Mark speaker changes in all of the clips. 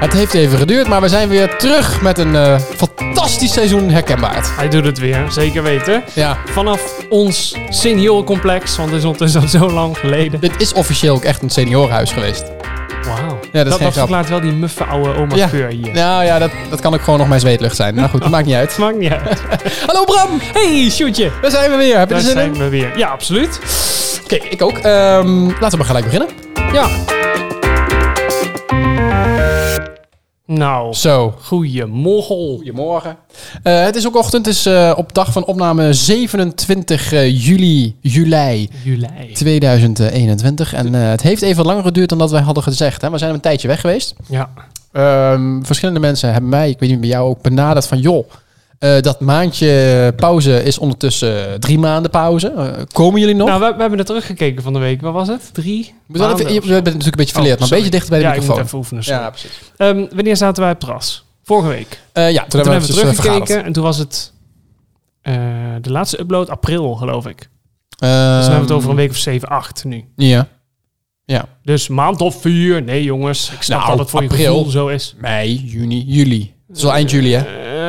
Speaker 1: Het heeft even geduurd, maar we zijn weer terug met een eh, fantastisch seizoen herkenbaar.
Speaker 2: Hij doet het weer, zeker weten.
Speaker 1: Ja,
Speaker 2: Vanaf ons seniorencomplex, want het is ondertussen al zo lang geleden.
Speaker 1: dit is officieel ook echt een seniorenhuis geweest.
Speaker 2: Wauw.
Speaker 1: geen
Speaker 2: dat dat,
Speaker 1: grap.
Speaker 2: verklaart wel die muffe oude oma
Speaker 1: Ja.
Speaker 2: keur hier.
Speaker 1: Nou ja, dat, dat kan ook gewoon nog mijn zweetlucht zijn. Nou goed, dat maakt niet uit.
Speaker 2: Maakt niet uit.
Speaker 1: Hallo Bram,
Speaker 2: Hey, shootje.
Speaker 1: daar zijn we weer. Heb je
Speaker 2: Daar
Speaker 1: er zin
Speaker 2: zijn
Speaker 1: in?
Speaker 2: we weer. Ja, absoluut.
Speaker 1: Oké, ik ook. Ehm, laten we maar gelijk beginnen.
Speaker 2: Ja. Nou,
Speaker 1: Zo.
Speaker 2: goeie mogel.
Speaker 1: Goedemorgen. Eh, het is ook ochtend, het is eh, op dag van opname 27 juli, juli
Speaker 2: Juli.
Speaker 1: 2021. En eh, het heeft even langer geduurd dan dat wij hadden gezegd. Hè? We zijn een tijdje weg geweest.
Speaker 2: Ja.
Speaker 1: Ehm, verschillende mensen hebben mij, ik weet niet bij jou ook, benaderd van joh, eh, dat maandje pauze is ondertussen eh, drie maanden pauze. Eh, komen jullie nog?
Speaker 2: Nou, we, we hebben er teruggekeken van de week. Wat was het? Drie?
Speaker 1: Moet wel
Speaker 2: maanden
Speaker 1: even, je
Speaker 2: of
Speaker 1: bent natuurlijk een beetje verleerd,
Speaker 2: Oh,
Speaker 1: maar een beetje
Speaker 2: sorry.
Speaker 1: dichter bij de
Speaker 2: ja,
Speaker 1: microfoon.
Speaker 2: ik moet even oefenen. sorry.
Speaker 1: ja, precies.
Speaker 2: Ehm, wanneer zaten wij op het terras? Vorige week.
Speaker 1: Eh, ja, toen,
Speaker 2: Toen
Speaker 1: hebben we het dus, eh, vergaderd.
Speaker 2: teruggekeken en toen was het eh, de laatste upload april, geloof ik. Dus
Speaker 1: Ehm,
Speaker 2: dan hebben we het over een week of 7, 8 nu.
Speaker 1: Ja.
Speaker 2: Dus maand of vier. Nee, jongens. Ik snap
Speaker 1: Nou,
Speaker 2: dat het voor je
Speaker 1: april.
Speaker 2: gevoel zo is.
Speaker 1: Mei, juni, juli. Het is wel eind juli, hè?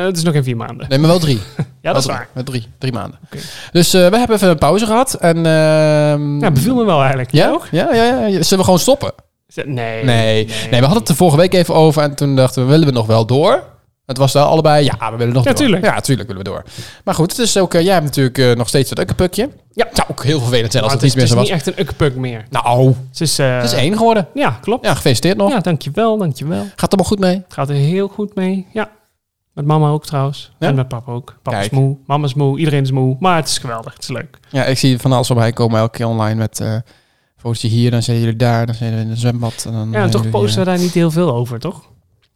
Speaker 2: Eh, het is nog geen vier maanden.
Speaker 1: Nee, maar wel drie.
Speaker 2: Ja, dat is
Speaker 1: Wel
Speaker 2: waar.
Speaker 1: drie. Wel drie, drie maanden.
Speaker 2: Oké.
Speaker 1: Dus eh, we hebben even een pauze gehad. En, ehm,
Speaker 2: Ja, beviel me wel eigenlijk.
Speaker 1: ja?
Speaker 2: Jij ook?
Speaker 1: Ja, ja, ja, ja. Zullen we gewoon stoppen?
Speaker 2: Nee. Nee.
Speaker 1: Nee. nee. we hadden het de vorige week even over. En toen dachten we, willen we nog wel door? Het was daar allebei, ja, we willen nog
Speaker 2: Ja,
Speaker 1: door.
Speaker 2: tuurlijk.
Speaker 1: Ja, tuurlijk willen we door. Maar goed, het is ook, eh, jij hebt natuurlijk eh, nog steeds dat ukkenpukje.
Speaker 2: Ja.
Speaker 1: Het zou ook heel vervelend zijn
Speaker 2: Maar
Speaker 1: als
Speaker 2: het
Speaker 1: het
Speaker 2: is,
Speaker 1: iets meer zo
Speaker 2: het is
Speaker 1: was.
Speaker 2: niet echt een ukpuk meer.
Speaker 1: Nou,
Speaker 2: Het is, eh,
Speaker 1: het is één geworden.
Speaker 2: Ja, klopt.
Speaker 1: Ja, gefeliciteerd nog.
Speaker 2: Ja, dankjewel, dankjewel.
Speaker 1: Gaat allemaal goed mee?
Speaker 2: Het gaat er heel goed mee. Ja. Met mama ook trouwens.
Speaker 1: Ja?
Speaker 2: En met papa ook. Papa is
Speaker 1: Kijk.
Speaker 2: moe, mama is moe, iedereen is moe. Maar het is geweldig, het is leuk.
Speaker 1: Ja, ik zie van alles voorbij komen elke keer online met eh fotootje hier, dan zijn jullie daar, dan zijn jullie in het zwembad. En dan
Speaker 2: Ja, en
Speaker 1: zijn
Speaker 2: toch
Speaker 1: jullie,
Speaker 2: posten we daar niet heel veel over, toch?
Speaker 1: eh,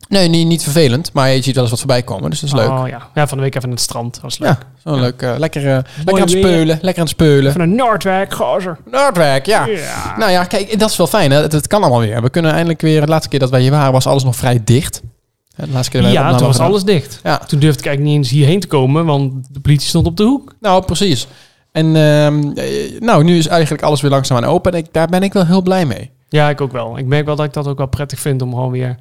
Speaker 1: Nee, niet, niet vervelend, maar je ziet wel eens wat voorbij komen, dus dat is leuk.
Speaker 2: Oh ja. ja, van de week even aan het strand. Dat was leuk.
Speaker 1: Ja, zo
Speaker 2: Ja.
Speaker 1: leuk. eh, lekker, eh, lekker aan het
Speaker 2: weer.
Speaker 1: speulen, lekker aan het speulen.
Speaker 2: Van een Noordwijk, gozer.
Speaker 1: Noordwijk, ja.
Speaker 2: Ja.
Speaker 1: Nou ja, kijk, dat is wel fijn. Hè? Het, het kan allemaal weer. We kunnen eindelijk weer. De laatste keer dat wij hier waren, was alles nog vrij dicht. Hè, De laatste keer dat wij
Speaker 2: Ja,
Speaker 1: de
Speaker 2: toen
Speaker 1: opname
Speaker 2: was alles dicht.
Speaker 1: gedaan. Ja,
Speaker 2: Toen durfde ik eigenlijk niet eens hierheen te komen, want de politie stond op de hoek.
Speaker 1: nou precies. En ehm, eh, nou, nu is eigenlijk alles weer langzaam aan open. En ik, daar ben ik wel heel blij mee.
Speaker 2: Ja, ik ook wel. Ik merk wel dat ik dat ook wel prettig vind om gewoon weer...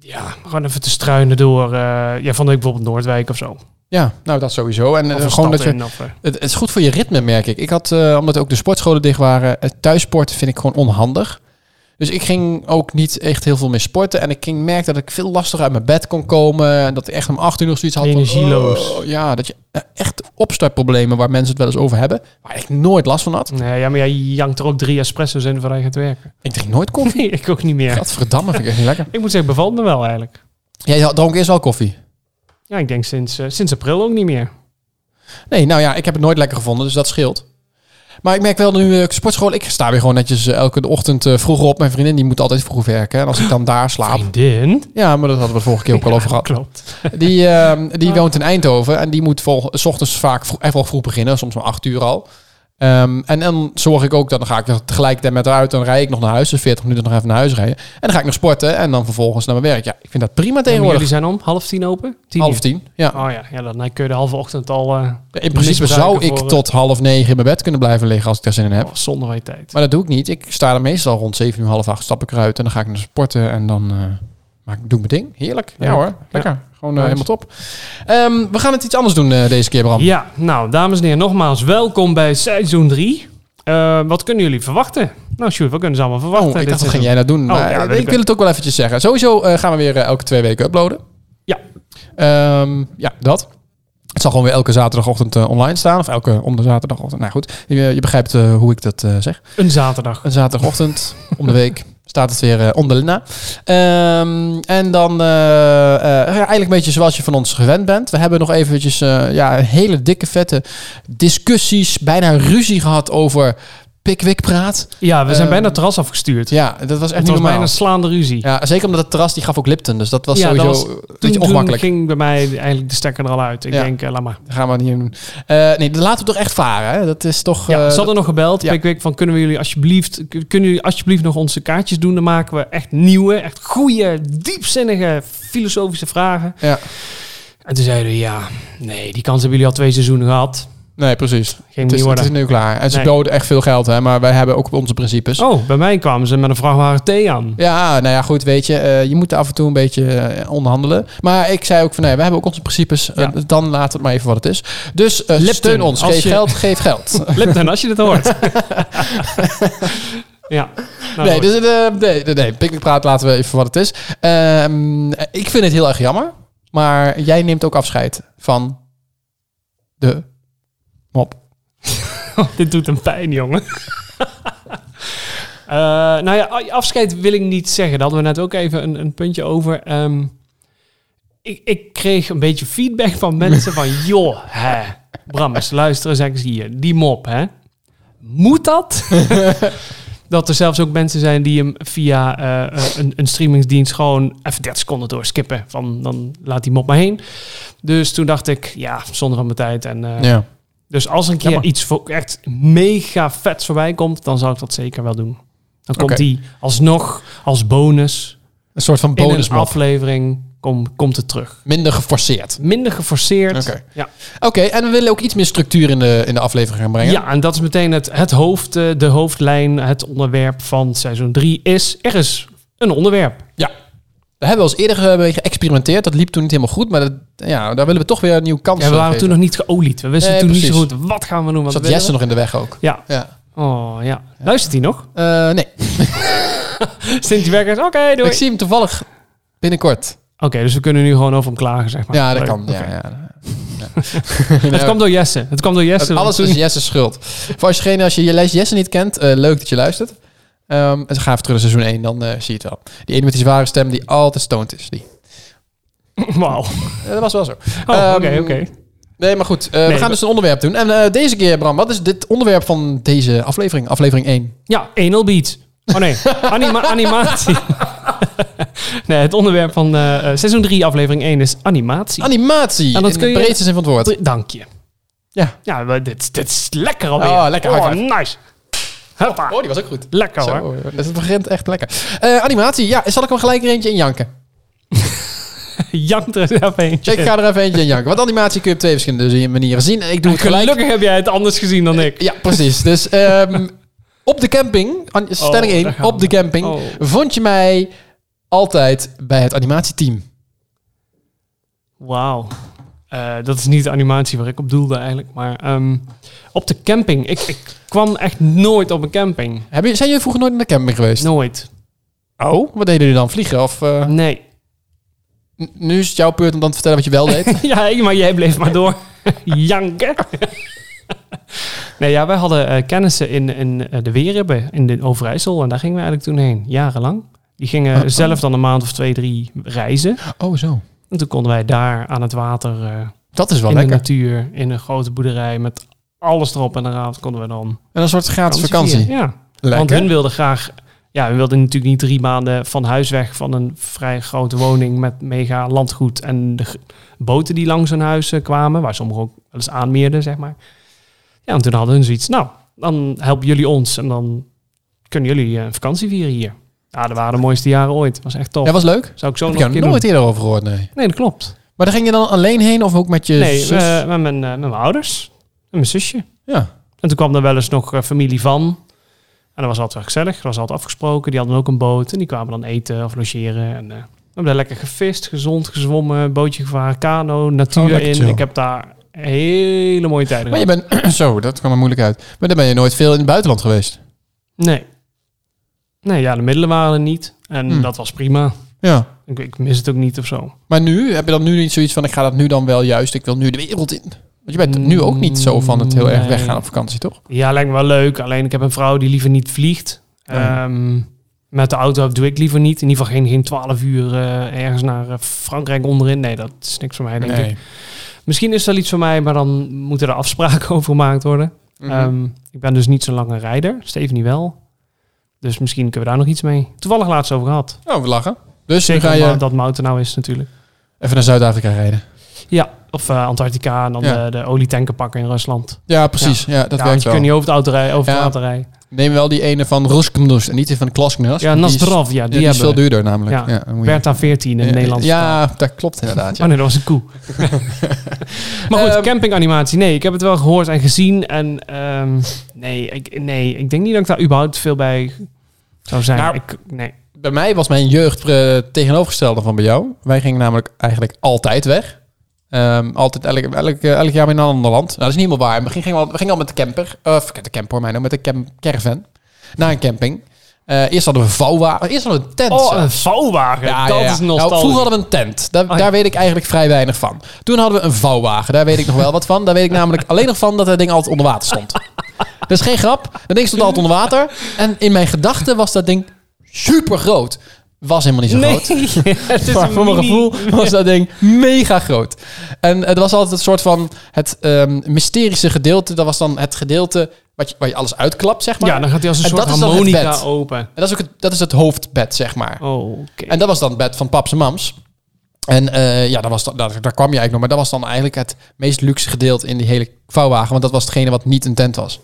Speaker 2: Ja, gewoon even te struinen door... eh, ja, van de week bijvoorbeeld Noordwijk of zo. Of
Speaker 1: Ja, nou dat sowieso. En eh,
Speaker 2: een
Speaker 1: gewoon
Speaker 2: stad
Speaker 1: dat je
Speaker 2: in, of, eh,
Speaker 1: Het, het is goed voor je ritme, merk ik. Ik had, eh, omdat ook de sportscholen dicht waren, het thuissporten vind ik gewoon onhandig. Dus ik ging ook niet echt heel veel meer sporten. En ik ging merken dat ik veel lastiger uit mijn bed kon komen. En dat ik echt om acht uur nog zoiets had. van,
Speaker 2: Energieloos.
Speaker 1: oh, ja, dat je eh, echt opstartproblemen waar mensen het wel eens over hebben. Waar ik nooit last van had.
Speaker 2: Nee, ja, maar jij jankt er ook drie espresso's in voordat je gaat werken.
Speaker 1: Ik drink nooit koffie.
Speaker 2: Nee, ik ook niet meer.
Speaker 1: Dat verdamme vind ik echt niet lekker.
Speaker 2: Ik moet zeggen, bevalt me wel eigenlijk.
Speaker 1: Jij dronk eerst wel koffie?
Speaker 2: Ja, ik denk sinds, eh, sinds april ook niet meer.
Speaker 1: Nee, nou ja, ik heb het nooit lekker gevonden, dus dat scheelt. Maar ik merk wel nu eh, ik sportschool, ik sta weer gewoon netjes eh, elke ochtend eh, vroeg op. Mijn vriendin die moet altijd vroeg werken. En als ik dan daar slaap,
Speaker 2: Vriendin?
Speaker 1: Ja, maar dat hadden we de vorige keer ook al over gehad.
Speaker 2: Klopt.
Speaker 1: Die, ehm, die woont in Eindhoven en die moet vol, eh, s ochtends vaak vro- echt wel vroeg beginnen, soms om acht uur al. Ehm, en dan zorg ik ook, dat dan ga ik er tegelijkertijd met haar uit, dan rijd ik nog naar huis, dus 40 minuten nog even naar huis rijden. En dan ga ik nog sporten en dan vervolgens naar mijn werk. Ja, ik vind dat prima
Speaker 2: Ja, maar
Speaker 1: tegenwoordig.
Speaker 2: jullie zijn om half tien open? Tien
Speaker 1: half
Speaker 2: uur.
Speaker 1: tien, ja.
Speaker 2: Oh ja, ja dan kun je de halve ochtend al eh
Speaker 1: In principe
Speaker 2: misbruiken
Speaker 1: zou ik
Speaker 2: voor, eh,
Speaker 1: tot half negen in mijn bed kunnen blijven liggen als ik daar zin in heb.
Speaker 2: oh, zonder wij tijd.
Speaker 1: Maar dat doe ik niet. Ik sta er meestal rond zeven uur, half acht, stap ik eruit en dan ga ik naar sporten en dan eh, maak, doe ik mijn ding. Heerlijk. Ja,
Speaker 2: Ja.
Speaker 1: hoor, lekker. Gewoon eh,
Speaker 2: Nice.
Speaker 1: helemaal top. Ehm, we gaan het iets anders doen eh, deze keer, Bram.
Speaker 2: Ja, nou, dames en heren, nogmaals welkom bij seizoen 3. wat kunnen jullie verwachten? Nou, Sjoerd, wat kunnen ze allemaal verwachten?
Speaker 1: Oh, ik
Speaker 2: dit
Speaker 1: dacht, wat
Speaker 2: seizoen?
Speaker 1: ging jij nou doen? maar,
Speaker 2: ja,
Speaker 1: eh,
Speaker 2: weet ik
Speaker 1: ik wil
Speaker 2: wel.
Speaker 1: het ook wel eventjes zeggen. Sowieso eh, gaan we weer eh, elke twee weken uploaden.
Speaker 2: Ja.
Speaker 1: Ehm, ja, dat. Het zal gewoon weer elke zaterdagochtend eh, online staan. Of elke om de zaterdagochtend. Nou goed, je, je begrijpt eh, hoe ik dat eh, zeg.
Speaker 2: Een zaterdag.
Speaker 1: Een zaterdagochtend om de week staat het weer eh, om de lina. Ehm, en dan eh, eh, ja, eigenlijk een beetje zoals je van ons gewend bent. We hebben nog eventjes eh, ja, hele dikke vette discussies, bijna ruzie gehad over Pickwick praat.
Speaker 2: Ja, we zijn
Speaker 1: Ehm,
Speaker 2: bijna het terras afgestuurd.
Speaker 1: Ja, dat was echt
Speaker 2: het
Speaker 1: niet
Speaker 2: was
Speaker 1: normaal.
Speaker 2: bijna slaande ruzie.
Speaker 1: Ja, zeker omdat het terras die gaf ook Lipton. Dus dat was
Speaker 2: Ja, dat
Speaker 1: sowieso
Speaker 2: was-
Speaker 1: een
Speaker 2: toen,
Speaker 1: beetje
Speaker 2: toen
Speaker 1: ongemakkelijk.
Speaker 2: ging bij mij eigenlijk de stekker er al uit. Ik
Speaker 1: Ja.
Speaker 2: denk, eh, laat maar.
Speaker 1: Dat gaan we niet doen. Eh, nee, dat laten we toch echt varen. Hè? Dat is toch...
Speaker 2: Ja,
Speaker 1: eh,
Speaker 2: ze hadden nog gebeld.
Speaker 1: ja.
Speaker 2: Ik weet van, kunnen we jullie alsjeblieft, k- kunnen jullie alsjeblieft nog onze kaartjes doen? Dan maken we echt nieuwe, echt goede, diepzinnige filosofische vragen.
Speaker 1: Ja.
Speaker 2: En toen zeiden we, ja, nee, die kans hebben jullie al twee seizoenen gehad.
Speaker 1: Nee, precies.
Speaker 2: Ging
Speaker 1: Het
Speaker 2: niet
Speaker 1: is, het
Speaker 2: worden.
Speaker 1: is nu klaar. En ze
Speaker 2: Nee.
Speaker 1: boden echt veel geld, hè, maar wij hebben ook onze principes.
Speaker 2: Oh, bij mij kwamen ze met een vrachtwagen thee aan.
Speaker 1: Ja, nou ja, goed, weet je, eh, je moet af en toe een beetje eh, onderhandelen. Maar ik zei ook van, nee, we hebben ook onze principes. eh,
Speaker 2: Ja.
Speaker 1: dan laten we het maar even wat het is. Dus eh,
Speaker 2: Lipton,
Speaker 1: steun ons.
Speaker 2: als
Speaker 1: Geef
Speaker 2: je-
Speaker 1: geld, geef geld.
Speaker 2: Lipton, als je dit hoort. ja. Nou,
Speaker 1: nee,
Speaker 2: goed.
Speaker 1: dus, eh, nee, nee, nee, Pikkelpraat laten we even voor wat het is. Ehm, ik vind het heel erg jammer. Maar jij neemt ook afscheid van de mop.
Speaker 2: Dit doet hem pijn, jongen. Eh, nou ja, afscheid wil ik niet zeggen. Daar hadden we net ook even een, een puntje over. Ehm, ik, ik kreeg een beetje feedback van mensen van... joh, hè, Brammers, luister eens eens hier. Die mop, hè. Moet dat? dat er zelfs ook mensen zijn die hem via eh, eh, een, een streamingsdienst... gewoon even 30 seconden doorskippen. Van, dan laat die mop maar heen. Dus toen dacht ik, ja, zonde van mijn tijd. En eh,
Speaker 1: Ja.
Speaker 2: dus als er een keer
Speaker 1: Jammer.
Speaker 2: iets voor echt mega vets voorbij komt, dan zal ik dat zeker wel doen. Dan komt
Speaker 1: Oké.
Speaker 2: die alsnog als bonus,
Speaker 1: Een soort van
Speaker 2: in een
Speaker 1: bonusmop.
Speaker 2: aflevering kom, komt het terug.
Speaker 1: Minder geforceerd.
Speaker 2: Minder geforceerd.
Speaker 1: Oké.
Speaker 2: Ja.
Speaker 1: Oké, en we willen ook iets meer structuur in de, in de aflevering gaan brengen.
Speaker 2: ja, en dat is meteen het, het hoofd, eh, de hoofdlijn, het onderwerp van seizoen 3 is, er is een onderwerp.
Speaker 1: We hebben al eens eerder eh, mee geëxperimenteerd. Dat liep toen niet helemaal goed. Maar dat, ja, daar willen we toch weer een nieuwe kans
Speaker 2: Ja, we
Speaker 1: aan
Speaker 2: waren toen
Speaker 1: geven.
Speaker 2: nog niet geolied. We wisten
Speaker 1: Nee,
Speaker 2: toen niet zo
Speaker 1: precies.
Speaker 2: goed, wat gaan we doen? Wat
Speaker 1: Zat
Speaker 2: willen
Speaker 1: Jesse
Speaker 2: we?
Speaker 1: nog in de weg ook.
Speaker 2: Ja.
Speaker 1: ja.
Speaker 2: Oh ja. Luistert hij nog?
Speaker 1: Eh, nee,
Speaker 2: Sint Werkers, oké, doei.
Speaker 1: ik zie hem toevallig binnenkort.
Speaker 2: Oké, dus we kunnen nu gewoon over hem klagen, zeg maar.
Speaker 1: ja, dat
Speaker 2: Oh, Leuk.
Speaker 1: kan. Ja,
Speaker 2: Oké.
Speaker 1: ja.
Speaker 2: Het kwam door Jesse. Het kwam door Jesse. dus-
Speaker 1: Het- Alles is Jesse's schuld. Voor als je, geen, als je je lijst Jesse niet kent, eh, leuk dat je luistert. Ehm en ga even terug naar seizoen 1, dan eh, zie je het wel. Die ene met die zware stem die altijd stoned is. Die.
Speaker 2: Wauw.
Speaker 1: Eh, dat was wel zo.
Speaker 2: Oh,
Speaker 1: Ehm,
Speaker 2: oké, oké.
Speaker 1: Nee, maar goed. eh, we
Speaker 2: Nee,
Speaker 1: gaan
Speaker 2: we-
Speaker 1: dus een onderwerp doen. En eh, deze keer, Bram, wat is dit onderwerp van deze aflevering? Aflevering 1.
Speaker 2: Ja, anal beats. Oh nee, Anima animatie. nee, het onderwerp van eh, eh, seizoen 3, aflevering 1 is animatie.
Speaker 1: Animatie.
Speaker 2: En dat
Speaker 1: in
Speaker 2: kun
Speaker 1: de
Speaker 2: je-
Speaker 1: breedste zin van het woord.
Speaker 2: Dank je.
Speaker 1: Ja.
Speaker 2: Ja, maar dit, dit is lekker alweer.
Speaker 1: Oh, lekker, high
Speaker 2: Oh, nice. Hoppa.
Speaker 1: Oh, die was ook goed.
Speaker 2: Lekker
Speaker 1: Zo,
Speaker 2: hoor.
Speaker 1: hoor. Dus Het begint echt lekker. Eh, animatie, ja. Zal ik hem gelijk er eentje in janken?
Speaker 2: Jank er eens even eentje.
Speaker 1: Ik ga er even eentje in janken. Want animatie kun je op twee verschillende manieren zien. Ik doe het gelijk.
Speaker 2: Gelukkig heb jij het anders gezien dan ik.
Speaker 1: Ja, precies. Dus ehm, op de camping, an- stelling
Speaker 2: Oh, daar
Speaker 1: 1,
Speaker 2: gaan
Speaker 1: op de
Speaker 2: we.
Speaker 1: camping,
Speaker 2: Oh.
Speaker 1: vond je mij altijd bij het animatieteam.
Speaker 2: Wauw. Eh, dat is niet de animatie waar ik op doelde eigenlijk. Maar ehm, op de camping. Ik, ik kwam echt nooit op een camping.
Speaker 1: Heb je, zijn jullie vroeger nooit naar de camping geweest?
Speaker 2: Nooit. Nou.
Speaker 1: Oh, wat deden jullie dan? Vliegen? Of eh,
Speaker 2: Nee.
Speaker 1: n- nu is het jouw beurt om dan te vertellen wat je wel deed?
Speaker 2: Ja, maar jij bleef maar door janken. nee, ja, wij hadden eh, kennissen in, in eh, de Weerribben in de Overijssel. En daar gingen we eigenlijk toen heen, jarenlang. Die gingen
Speaker 1: Oh, oh.
Speaker 2: zelf dan een maand of twee, drie reizen.
Speaker 1: oh, zo.
Speaker 2: En toen konden wij daar aan het water, eh,
Speaker 1: Dat is wel
Speaker 2: in de
Speaker 1: lekker.
Speaker 2: natuur, in een grote boerderij met alles erop en eraan konden we dan...
Speaker 1: En een soort gratis vakantie.
Speaker 2: vieren. Ja, want
Speaker 1: Lekker.
Speaker 2: hun wilden graag... Ja, hun wilden natuurlijk niet drie maanden van huis weg van een vrij grote woning met mega landgoed. En de g- boten die langs hun huis eh, kwamen, waar sommigen ook wel eens aanmeerden, zeg maar. Ja, en toen hadden hun zoiets. Nou, dan helpen jullie ons en dan kunnen jullie eh, een vakantie vieren hier. Ja, dat waren de mooiste jaren ooit. Was echt tof.
Speaker 1: Ja, was leuk.
Speaker 2: Zou ik zo
Speaker 1: Heb ik
Speaker 2: nog een
Speaker 1: jou
Speaker 2: keer
Speaker 1: nooit
Speaker 2: doen.
Speaker 1: eerder over gehoord, nee.
Speaker 2: Nee, dat klopt.
Speaker 1: Maar daar ging je dan alleen heen of ook met je
Speaker 2: nee,
Speaker 1: zus?
Speaker 2: eh, met, mijn, eh, met mijn ouders en mijn zusje.
Speaker 1: ja.
Speaker 2: En toen kwam er wel eens nog eh, familie van. En dat was altijd wel gezellig. Dat was altijd afgesproken. Die hadden ook een boot. En die kwamen dan eten of logeren. En eh, we hebben daar lekker gevist, gezond, gezwommen. Bootje gevaren, kano,
Speaker 1: Oh,
Speaker 2: natuur
Speaker 1: lekker
Speaker 2: in.
Speaker 1: chill.
Speaker 2: Ik heb daar hele mooie tijden
Speaker 1: Maar je
Speaker 2: gehad.
Speaker 1: bent... zo, dat kwam er moeilijk uit. Maar dan ben je nooit veel in het buitenland geweest.
Speaker 2: Nee. Nee, ja, de middelen waren er niet. En
Speaker 1: Hmm.
Speaker 2: dat was prima.
Speaker 1: Ja.
Speaker 2: Ik, ik mis het ook niet of zo.
Speaker 1: Maar nu, heb je dan nu niet zoiets van, ik ga dat nu dan wel juist, ik wil nu de wereld in? Want je bent nu ook niet zo van het heel erg
Speaker 2: Nee.
Speaker 1: weggaan op vakantie, toch?
Speaker 2: Ja, lijkt me wel leuk. Alleen ik heb een vrouw die liever niet vliegt.
Speaker 1: Nee.
Speaker 2: Ehm, met de auto doe ik liever niet. In ieder geval geen, geen 12 uur eh, ergens naar eh, Frankrijk onderin. Nee, dat is niks voor mij, denk ik. Misschien is dat iets voor mij, maar dan moeten er afspraken over gemaakt worden.
Speaker 1: Mhm.
Speaker 2: Ehm, ik ben dus niet zo'n lange rijder. Stephanie wel. Dus misschien kunnen we daar nog iets mee. Toevallig laatst over gehad.
Speaker 1: oh, we lachen. Dus
Speaker 2: Zeker
Speaker 1: nu ga je
Speaker 2: dat Mouten nou is natuurlijk.
Speaker 1: even naar Zuid-Afrika rijden.
Speaker 2: Of eh, Antarctica en dan
Speaker 1: Ja.
Speaker 2: de, de olietanken pakken in Rusland.
Speaker 1: Ja, precies. Ja, dat werkt
Speaker 2: Ja, want je
Speaker 1: wel.
Speaker 2: kunt niet over het, auto rijden, over het
Speaker 1: Ja.
Speaker 2: water rijden.
Speaker 1: Neem wel die ene van Roskmdos en niet die van Klasknas.
Speaker 2: Ja,
Speaker 1: die is,
Speaker 2: Nastrov, ja, die,
Speaker 1: die is
Speaker 2: hebben
Speaker 1: veel
Speaker 2: we.
Speaker 1: duurder namelijk.
Speaker 2: Ja,
Speaker 1: Ja, dan moet je-
Speaker 2: Bertha 14 in
Speaker 1: Ja,
Speaker 2: het Nederlands.
Speaker 1: Ja, dat klopt inderdaad.
Speaker 2: Oh
Speaker 1: Ja.
Speaker 2: nee, dat was een koe. maar goed,
Speaker 1: Ehm,
Speaker 2: campinganimatie. Nee, ik heb het wel gehoord en gezien. En ehm, nee, ik, nee, ik denk niet dat ik daar überhaupt veel bij zou zijn.
Speaker 1: Nou,
Speaker 2: ik, nee.
Speaker 1: Bij mij was mijn jeugd eh, tegenovergestelde van bij jou. Wij gingen namelijk eigenlijk altijd weg. Ehm, altijd elk, elk, eh, elk jaar in een ander land. Nou, dat is niet helemaal waar. In het begin gingen we, al- we gingen al met de camper. Eh, Of de camper, hoor mij nou, met de cam, caravan. Naar een camping. Eh, eerst hadden we vouwwagen. Eerst hadden we een tent.
Speaker 2: Oh,
Speaker 1: zelfs.
Speaker 2: een vouwwagen. dat is
Speaker 1: Nou,
Speaker 2: nostalgisch.
Speaker 1: vroeger hadden we een tent. Daar,
Speaker 2: ja.
Speaker 1: daar weet ik eigenlijk vrij weinig van. Toen hadden we een vouwwagen. Daar weet ik nog wel wat van. Daar weet ik namelijk alleen nog van dat dat ding altijd onder water stond. Dat is geen grap. Dat ding stond altijd onder water. En in mijn gedachten was dat ding super groot. Was helemaal niet zo
Speaker 2: nee,
Speaker 1: groot.
Speaker 2: het is
Speaker 1: Maar
Speaker 2: een
Speaker 1: voor mijn
Speaker 2: mini-
Speaker 1: gevoel was dat ding mega groot. En het was altijd het soort van het ehm, mysterische gedeelte. Dat was dan het gedeelte wat je, waar je alles uitklapt, zeg maar.
Speaker 2: Ja, dan gaat hij als een
Speaker 1: En
Speaker 2: soort
Speaker 1: dat is dan het
Speaker 2: harmonica
Speaker 1: bed.
Speaker 2: open.
Speaker 1: En dat is ook het, dat is het hoofdbed, zeg maar.
Speaker 2: Oh, oké.
Speaker 1: En dat was dan het bed van paps en mams. En eh, ja, dat was, dan- daar, daar kwam je eigenlijk nog. Maar dat was dan eigenlijk het meest luxe gedeelte in die hele vouwwagen. Want dat was hetgene wat niet een tent was.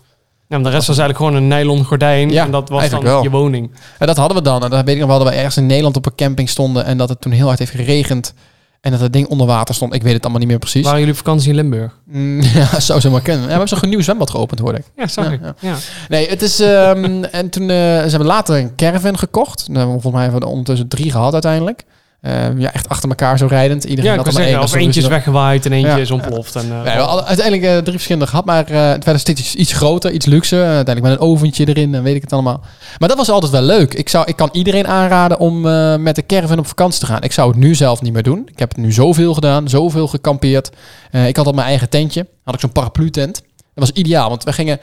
Speaker 2: Ja, maar Nou, de rest was eigenlijk gewoon een nylon gordijn.
Speaker 1: Ja,
Speaker 2: en dat was dan
Speaker 1: eigenlijk wel.
Speaker 2: je woning.
Speaker 1: En dat hadden we dan. En dat weet ik nog wel dat we ergens in Nederland op een camping stonden. En dat het toen heel hard heeft geregend. En dat het ding onder water stond. Ik weet het allemaal niet meer precies.
Speaker 2: Waren jullie op vakantie in Limburg?
Speaker 1: Mm, ja, zou ze maar kunnen. Ja, we hebben zo'n nieuw zwembad geopend, hoorde ik.
Speaker 2: Ja, zag
Speaker 1: Ja,
Speaker 2: ik.
Speaker 1: ja.
Speaker 2: Ja.
Speaker 1: Nee, het is... ehm, en toen eh, ze hebben later een caravan gekocht. Nou, volgens mij hebben we er ondertussen drie gehad uiteindelijk. Eh, ja, echt achter elkaar zo rijdend. Iedereen
Speaker 2: Ja, ik
Speaker 1: had
Speaker 2: kan
Speaker 1: er maar
Speaker 2: zeggen,
Speaker 1: één.
Speaker 2: als
Speaker 1: Dat is
Speaker 2: eentje is
Speaker 1: sowieso-
Speaker 2: weggewaaid en eentje
Speaker 1: Ja.
Speaker 2: is ontploft. En, eh,
Speaker 1: We hebben alle- uiteindelijk eh, drie verschillende gehad, maar eh, het werd steeds iets, iets groter, iets luxer. Eh, uiteindelijk met een oventje erin en weet ik het allemaal. Maar dat was altijd wel leuk. Ik, zou, ik kan iedereen aanraden om eh, met de caravan op vakantie te gaan. Ik zou het nu zelf niet meer doen. Ik heb het nu zoveel gedaan, zoveel gekampeerd. Eh, ik had al mijn eigen tentje. Had ik zo'n paraplu-tent. Dat was ideaal, want we gingen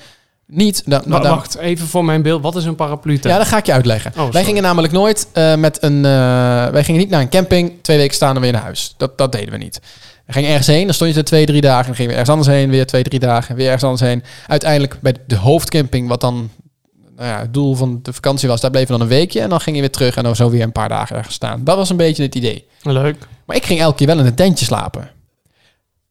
Speaker 1: niet... nou,
Speaker 2: Wa-
Speaker 1: nou,
Speaker 2: wacht, even voor mijn beeld. Wat is een paraplu tent?
Speaker 1: ja, dat ga ik je uitleggen.
Speaker 2: Oh, sorry.
Speaker 1: wij gingen namelijk nooit eh, met een. eh, wij gingen niet naar een camping, twee weken staan en weer naar huis. Dat, dat deden we niet. We gingen ergens heen, dan stond je er twee, drie dagen. Dan gingen we ergens anders heen, weer twee, drie dagen. Weer ergens anders heen. Uiteindelijk bij de hoofdcamping, wat dan nou ja, het doel van de vakantie was, daar bleven we dan een weekje. En dan ging je weer terug en dan zo weer een paar dagen ergens staan. Dat was een beetje het idee.
Speaker 2: Leuk.
Speaker 1: Maar ik ging elke keer wel in een tentje slapen.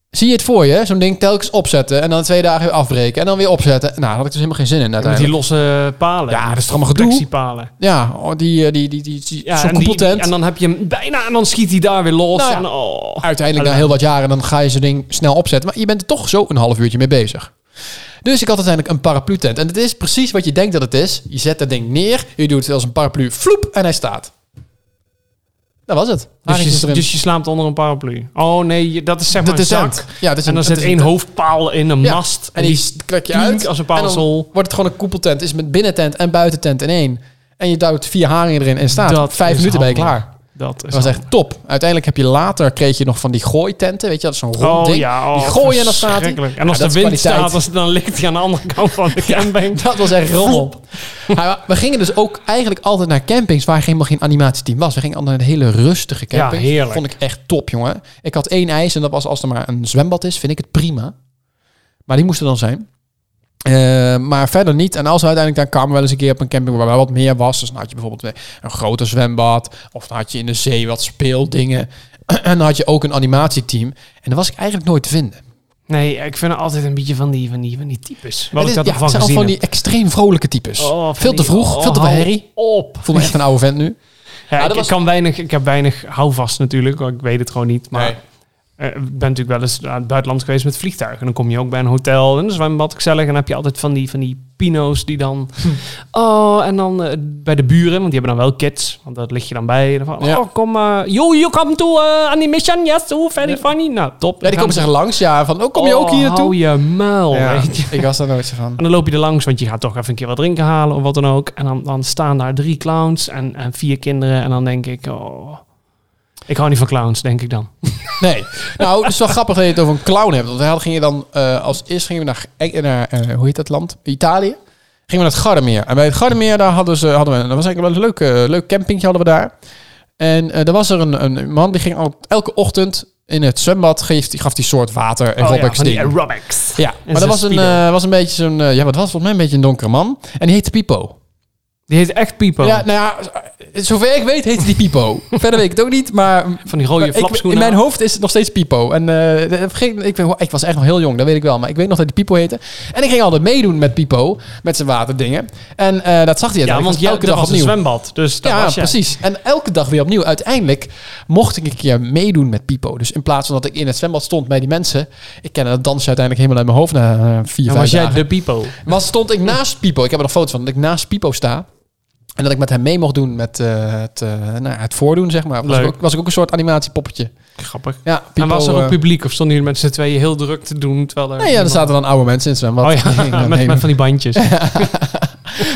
Speaker 1: Zie je het voor je? Zo'n ding telkens opzetten en dan twee dagen weer afbreken en dan weer opzetten. Nou, daar had ik dus helemaal geen zin in
Speaker 2: Met die
Speaker 1: uiteindelijk.
Speaker 2: losse palen.
Speaker 1: Ja, dat is toch allemaal gedoe?
Speaker 2: Protectiepalen.
Speaker 1: Ja, oh, die, eh, die, die, die, die-
Speaker 2: Ja,
Speaker 1: zo'n
Speaker 2: en, die-
Speaker 1: koepeltent.
Speaker 2: en dan heb je hem bijna en dan schiet hij daar weer los.
Speaker 1: Nou ja.
Speaker 2: en, oh.
Speaker 1: Uiteindelijk na heel wat jaren, dan ga je zo'n ding snel opzetten. Maar je bent er toch zo een half uurtje mee bezig. Dus ik had uiteindelijk een paraplu tent. En het is precies wat je denkt dat het is. Je zet dat ding neer, je doet het als een paraplu, floep, en hij staat. Dat was het.
Speaker 2: Dus
Speaker 1: Haringjes
Speaker 2: je,
Speaker 1: erin.
Speaker 2: dus je slaapt onder een paraplu. Oh nee, je- dat is zeg maar
Speaker 1: Dat
Speaker 2: een
Speaker 1: is
Speaker 2: zak.
Speaker 1: tent. Ja, dat is
Speaker 2: En dan
Speaker 1: een-
Speaker 2: zit
Speaker 1: dat is een
Speaker 2: één
Speaker 1: tent.
Speaker 2: hoofdpaal in een
Speaker 1: Ja,
Speaker 2: mast.
Speaker 1: En die trek je uit.
Speaker 2: piekt als een
Speaker 1: en dan
Speaker 2: parasol.
Speaker 1: wordt het gewoon een koepeltent. Is met binnentent en buitentent in één. En je duwt vier haringen erin en staat.
Speaker 2: Dat
Speaker 1: Vijf
Speaker 2: is
Speaker 1: minuten ben je
Speaker 2: handig.
Speaker 1: klaar.
Speaker 2: dat is
Speaker 1: Dat was echt top. Uiteindelijk heb je later kreeg je nog van die gooitenten. Weet je, dat is zo'n rond
Speaker 2: Oh
Speaker 1: ding.
Speaker 2: ja,
Speaker 1: die
Speaker 2: oh,
Speaker 1: gooien en dan staat hij.
Speaker 2: verschrikkelijk.
Speaker 1: Ja,
Speaker 2: En als
Speaker 1: dat
Speaker 2: de
Speaker 1: is
Speaker 2: wind
Speaker 1: kwaliteit.
Speaker 2: staat, als- dan ligt hij aan de andere kant van de camping.
Speaker 1: Dat was echt rommel. Maar we gingen dus ook eigenlijk altijd naar campings waar helemaal geen animatieteam was. We gingen altijd naar een hele rustige camping.
Speaker 2: Ja, heerlijk.
Speaker 1: Vond ik echt top, jongen. Ik had één eis en dat was als er maar een zwembad is, vind ik het prima. Maar die moest er dan zijn. Eh, maar verder niet. En als we uiteindelijk dan kwamen we wel eens een keer op een camping waar wel wat meer was. Dus dan had je bijvoorbeeld een groter zwembad. Of dan had je in de zee wat speeldingen. En dan had je ook een animatieteam. En dat was ik eigenlijk nooit te vinden.
Speaker 2: Nee, ik vind het altijd een beetje van die, van die, van die types.
Speaker 1: Het
Speaker 2: Wat ik
Speaker 1: is-
Speaker 2: dat
Speaker 1: ja,
Speaker 2: ervan
Speaker 1: het zijn
Speaker 2: gezien
Speaker 1: allemaal
Speaker 2: heb.
Speaker 1: van die extreem vrolijke types.
Speaker 2: Oh, van
Speaker 1: veel te
Speaker 2: die-
Speaker 1: vroeg,
Speaker 2: oh,
Speaker 1: veel te veel
Speaker 2: hou
Speaker 1: herrie.
Speaker 2: Op.
Speaker 1: Ik voel me echt een oude vent nu.
Speaker 2: Ja,
Speaker 1: Ja,
Speaker 2: ik,
Speaker 1: dat was-
Speaker 2: ik kan weinig, ik heb weinig houvast natuurlijk, want ik weet het gewoon niet. Maar
Speaker 1: Nee.
Speaker 2: eh, ik ben natuurlijk wel eens naar het buitenland geweest met vliegtuigen. En dan kom je ook bij een hotel en een zwembad gezellig. En dan heb je altijd van die, van die pino's die dan...
Speaker 1: Hm.
Speaker 2: Oh, en dan eh, bij de buren, want die hebben dan wel kids. Want dat ligt je dan bij. En dan van,
Speaker 1: Ja.
Speaker 2: Oh, kom maar. you, you come to eh, animation, yes, oh, very
Speaker 1: Ja.
Speaker 2: funny. Nou, top.
Speaker 1: Ja, die komen
Speaker 2: Dan
Speaker 1: zich langs. Ja, van, oh, kom je ook
Speaker 2: Oh,
Speaker 1: hier toe?
Speaker 2: hou je muil.
Speaker 1: Ja,
Speaker 2: weet je.
Speaker 1: ik was daar nooit zo van.
Speaker 2: En dan loop je er langs, want je gaat toch even een keer wat drinken halen of wat dan ook. En dan, dan staan daar drie clowns en, en vier kinderen. En dan denk ik, oh, ik hou niet van clowns, denk ik dan.
Speaker 1: Nee. Nou, het is wel grappig dat je het over een clown hebt. Want we hadden- gingen dan, eh, als eerst gingen we naar, eh, naar eh, hoe heet dat land? Italië. Gingen we naar het Gardermeer. En bij het Gardermeer, daar hadden, ze, hadden we, dat was eigenlijk wel een leuk, eh, leuk campingje hadden we daar. En eh, er was er een, een man, die ging al, elke ochtend in het zwembad, geef, die gaf die soort water en
Speaker 2: Oh
Speaker 1: aerobics
Speaker 2: van die
Speaker 1: ding.
Speaker 2: aerobics.
Speaker 1: Ja, maar
Speaker 2: zijn
Speaker 1: dat was een,
Speaker 2: speedo.
Speaker 1: eh, was een beetje zo'n... eh, ja, wat was volgens mij een beetje een donkere man. En die heette Pipo.
Speaker 2: Die heet echt Pipo.
Speaker 1: Ja, nou ja, zover ik weet heet die Pipo. Verder weet ik het ook niet, maar
Speaker 2: van die rode
Speaker 1: maar ik- in
Speaker 2: flapschoenen.
Speaker 1: mijn hoofd is het nog steeds Pipo. En eh, de- vergeet- ik, ben- ik was echt nog heel jong, dat weet ik wel. Maar ik weet nog dat die Pipo heette. En ik ging altijd meedoen met Pipo, met zijn waterdingen. En eh, dat zag hij
Speaker 2: ja,
Speaker 1: uiteindelijk
Speaker 2: want jou,
Speaker 1: elke
Speaker 2: dat
Speaker 1: dag
Speaker 2: was een
Speaker 1: opnieuw.
Speaker 2: zwembad. Dus daar
Speaker 1: ja,
Speaker 2: was jij.
Speaker 1: precies. En elke dag weer opnieuw. Uiteindelijk mocht ik een keer meedoen met Pipo. Dus in plaats van dat ik in het zwembad stond bij die mensen. Ik kende dat dansje uiteindelijk helemaal uit mijn hoofd na eh, vier, vijf
Speaker 2: Dan was jij
Speaker 1: dagen.
Speaker 2: de Pipo.
Speaker 1: Maar stond ik naast Pipo. Ik heb er nog foto's van. Dat ik naast Pipo sta. En dat ik met hem mee mocht doen met eh, het, eh, nou, ja, het voordoen, zeg maar. Was
Speaker 2: Leuk.
Speaker 1: ik, ook, was ik ook een soort animatiepoppetje.
Speaker 2: Grappig.
Speaker 1: Ja, Pipo,
Speaker 2: en was er ook
Speaker 1: eh,
Speaker 2: publiek of stonden jullie met z'n tweeën heel druk te doen? Terwijl er
Speaker 1: Nee, ja, er zaten dan oude mensen in het zwembad.
Speaker 2: Oh ja,
Speaker 1: Nee, nee,
Speaker 2: met,
Speaker 1: nee.
Speaker 2: met van die bandjes.
Speaker 1: Maar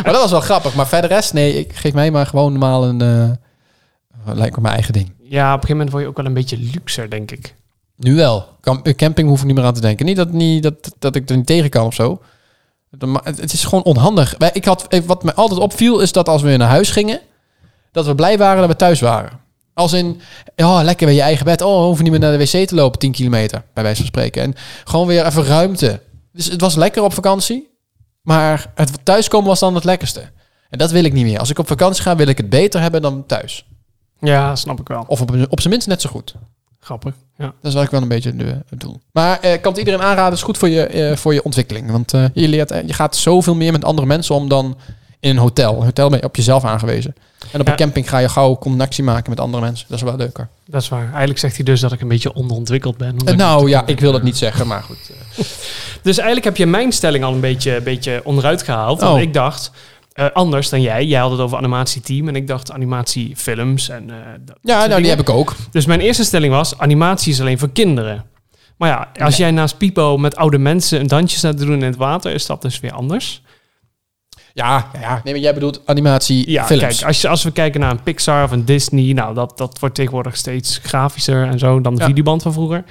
Speaker 1: dat was wel grappig. Maar verder rest, nee, ik geef mij maar gewoon normaal een... eh, lijkt me mijn eigen ding.
Speaker 2: Ja, op een gegeven moment word je ook wel een beetje luxer, denk ik.
Speaker 1: Nu wel. Kamp- eh, camping hoef ik niet meer aan te denken. Niet dat, niet, dat, dat ik er niet tegen kan of zo. Dat- maar Het het is gewoon onhandig. Wij- Ik had, eh, wat me altijd opviel is dat als we weer naar huis gingen, dat we blij waren dat we thuis waren. Als in, oh, lekker weer je eigen bed. Oh, we hoeven niet meer naar de wc te lopen, 10 kilometer, bij wijze van spreken. En gewoon weer even ruimte. Dus het was lekker op vakantie, maar het thuiskomen was dan het lekkerste. En dat wil ik niet meer. Als ik op vakantie ga, wil ik het beter hebben dan thuis.
Speaker 2: Ja, snap ik wel.
Speaker 1: Of op, op zijn minst net zo goed.
Speaker 2: Grappig. Ja.
Speaker 1: Dat is wat ik wel een beetje eh, het doel. Maar eh, ik kan het iedereen aanraden. Het is goed voor je, eh, voor je ontwikkeling. Want eh, je, leert, eh, je gaat zoveel meer met andere mensen om dan in een hotel. Een hotel ben je op jezelf aangewezen. En op
Speaker 2: Ja.
Speaker 1: een camping ga je gauw connectie maken met andere mensen. Dat is wel leuker.
Speaker 2: Dat is waar. Eigenlijk zegt hij dus dat ik een beetje onderontwikkeld ben. omdat
Speaker 1: Eh,
Speaker 2: ik
Speaker 1: nou
Speaker 2: niet-
Speaker 1: ja, ik wil dat niet zeggen, maar goed.
Speaker 2: Dus eigenlijk heb je mijn stelling al een beetje, beetje onderuit gehaald. Want
Speaker 1: Oh.
Speaker 2: ik dacht, eh, anders dan jij. Jij had het over animatieteam en ik dacht animatiefilms. En, eh, dat soort
Speaker 1: Ja, nou
Speaker 2: dingen.
Speaker 1: die heb ik ook.
Speaker 2: Dus mijn eerste stelling was, animatie is alleen voor kinderen. Maar ja, als jij naast Pipo met oude mensen een dansje staat te doen in het water, is dat dus weer anders.
Speaker 1: Ja, ja. Nee, maar jij bedoelt animatie,
Speaker 2: Ja,
Speaker 1: films.
Speaker 2: kijk, als, je, als we kijken naar een Pixar of een Disney, nou, dat, dat wordt tegenwoordig steeds grafischer en zo dan de
Speaker 1: Ja.
Speaker 2: videoband van vroeger.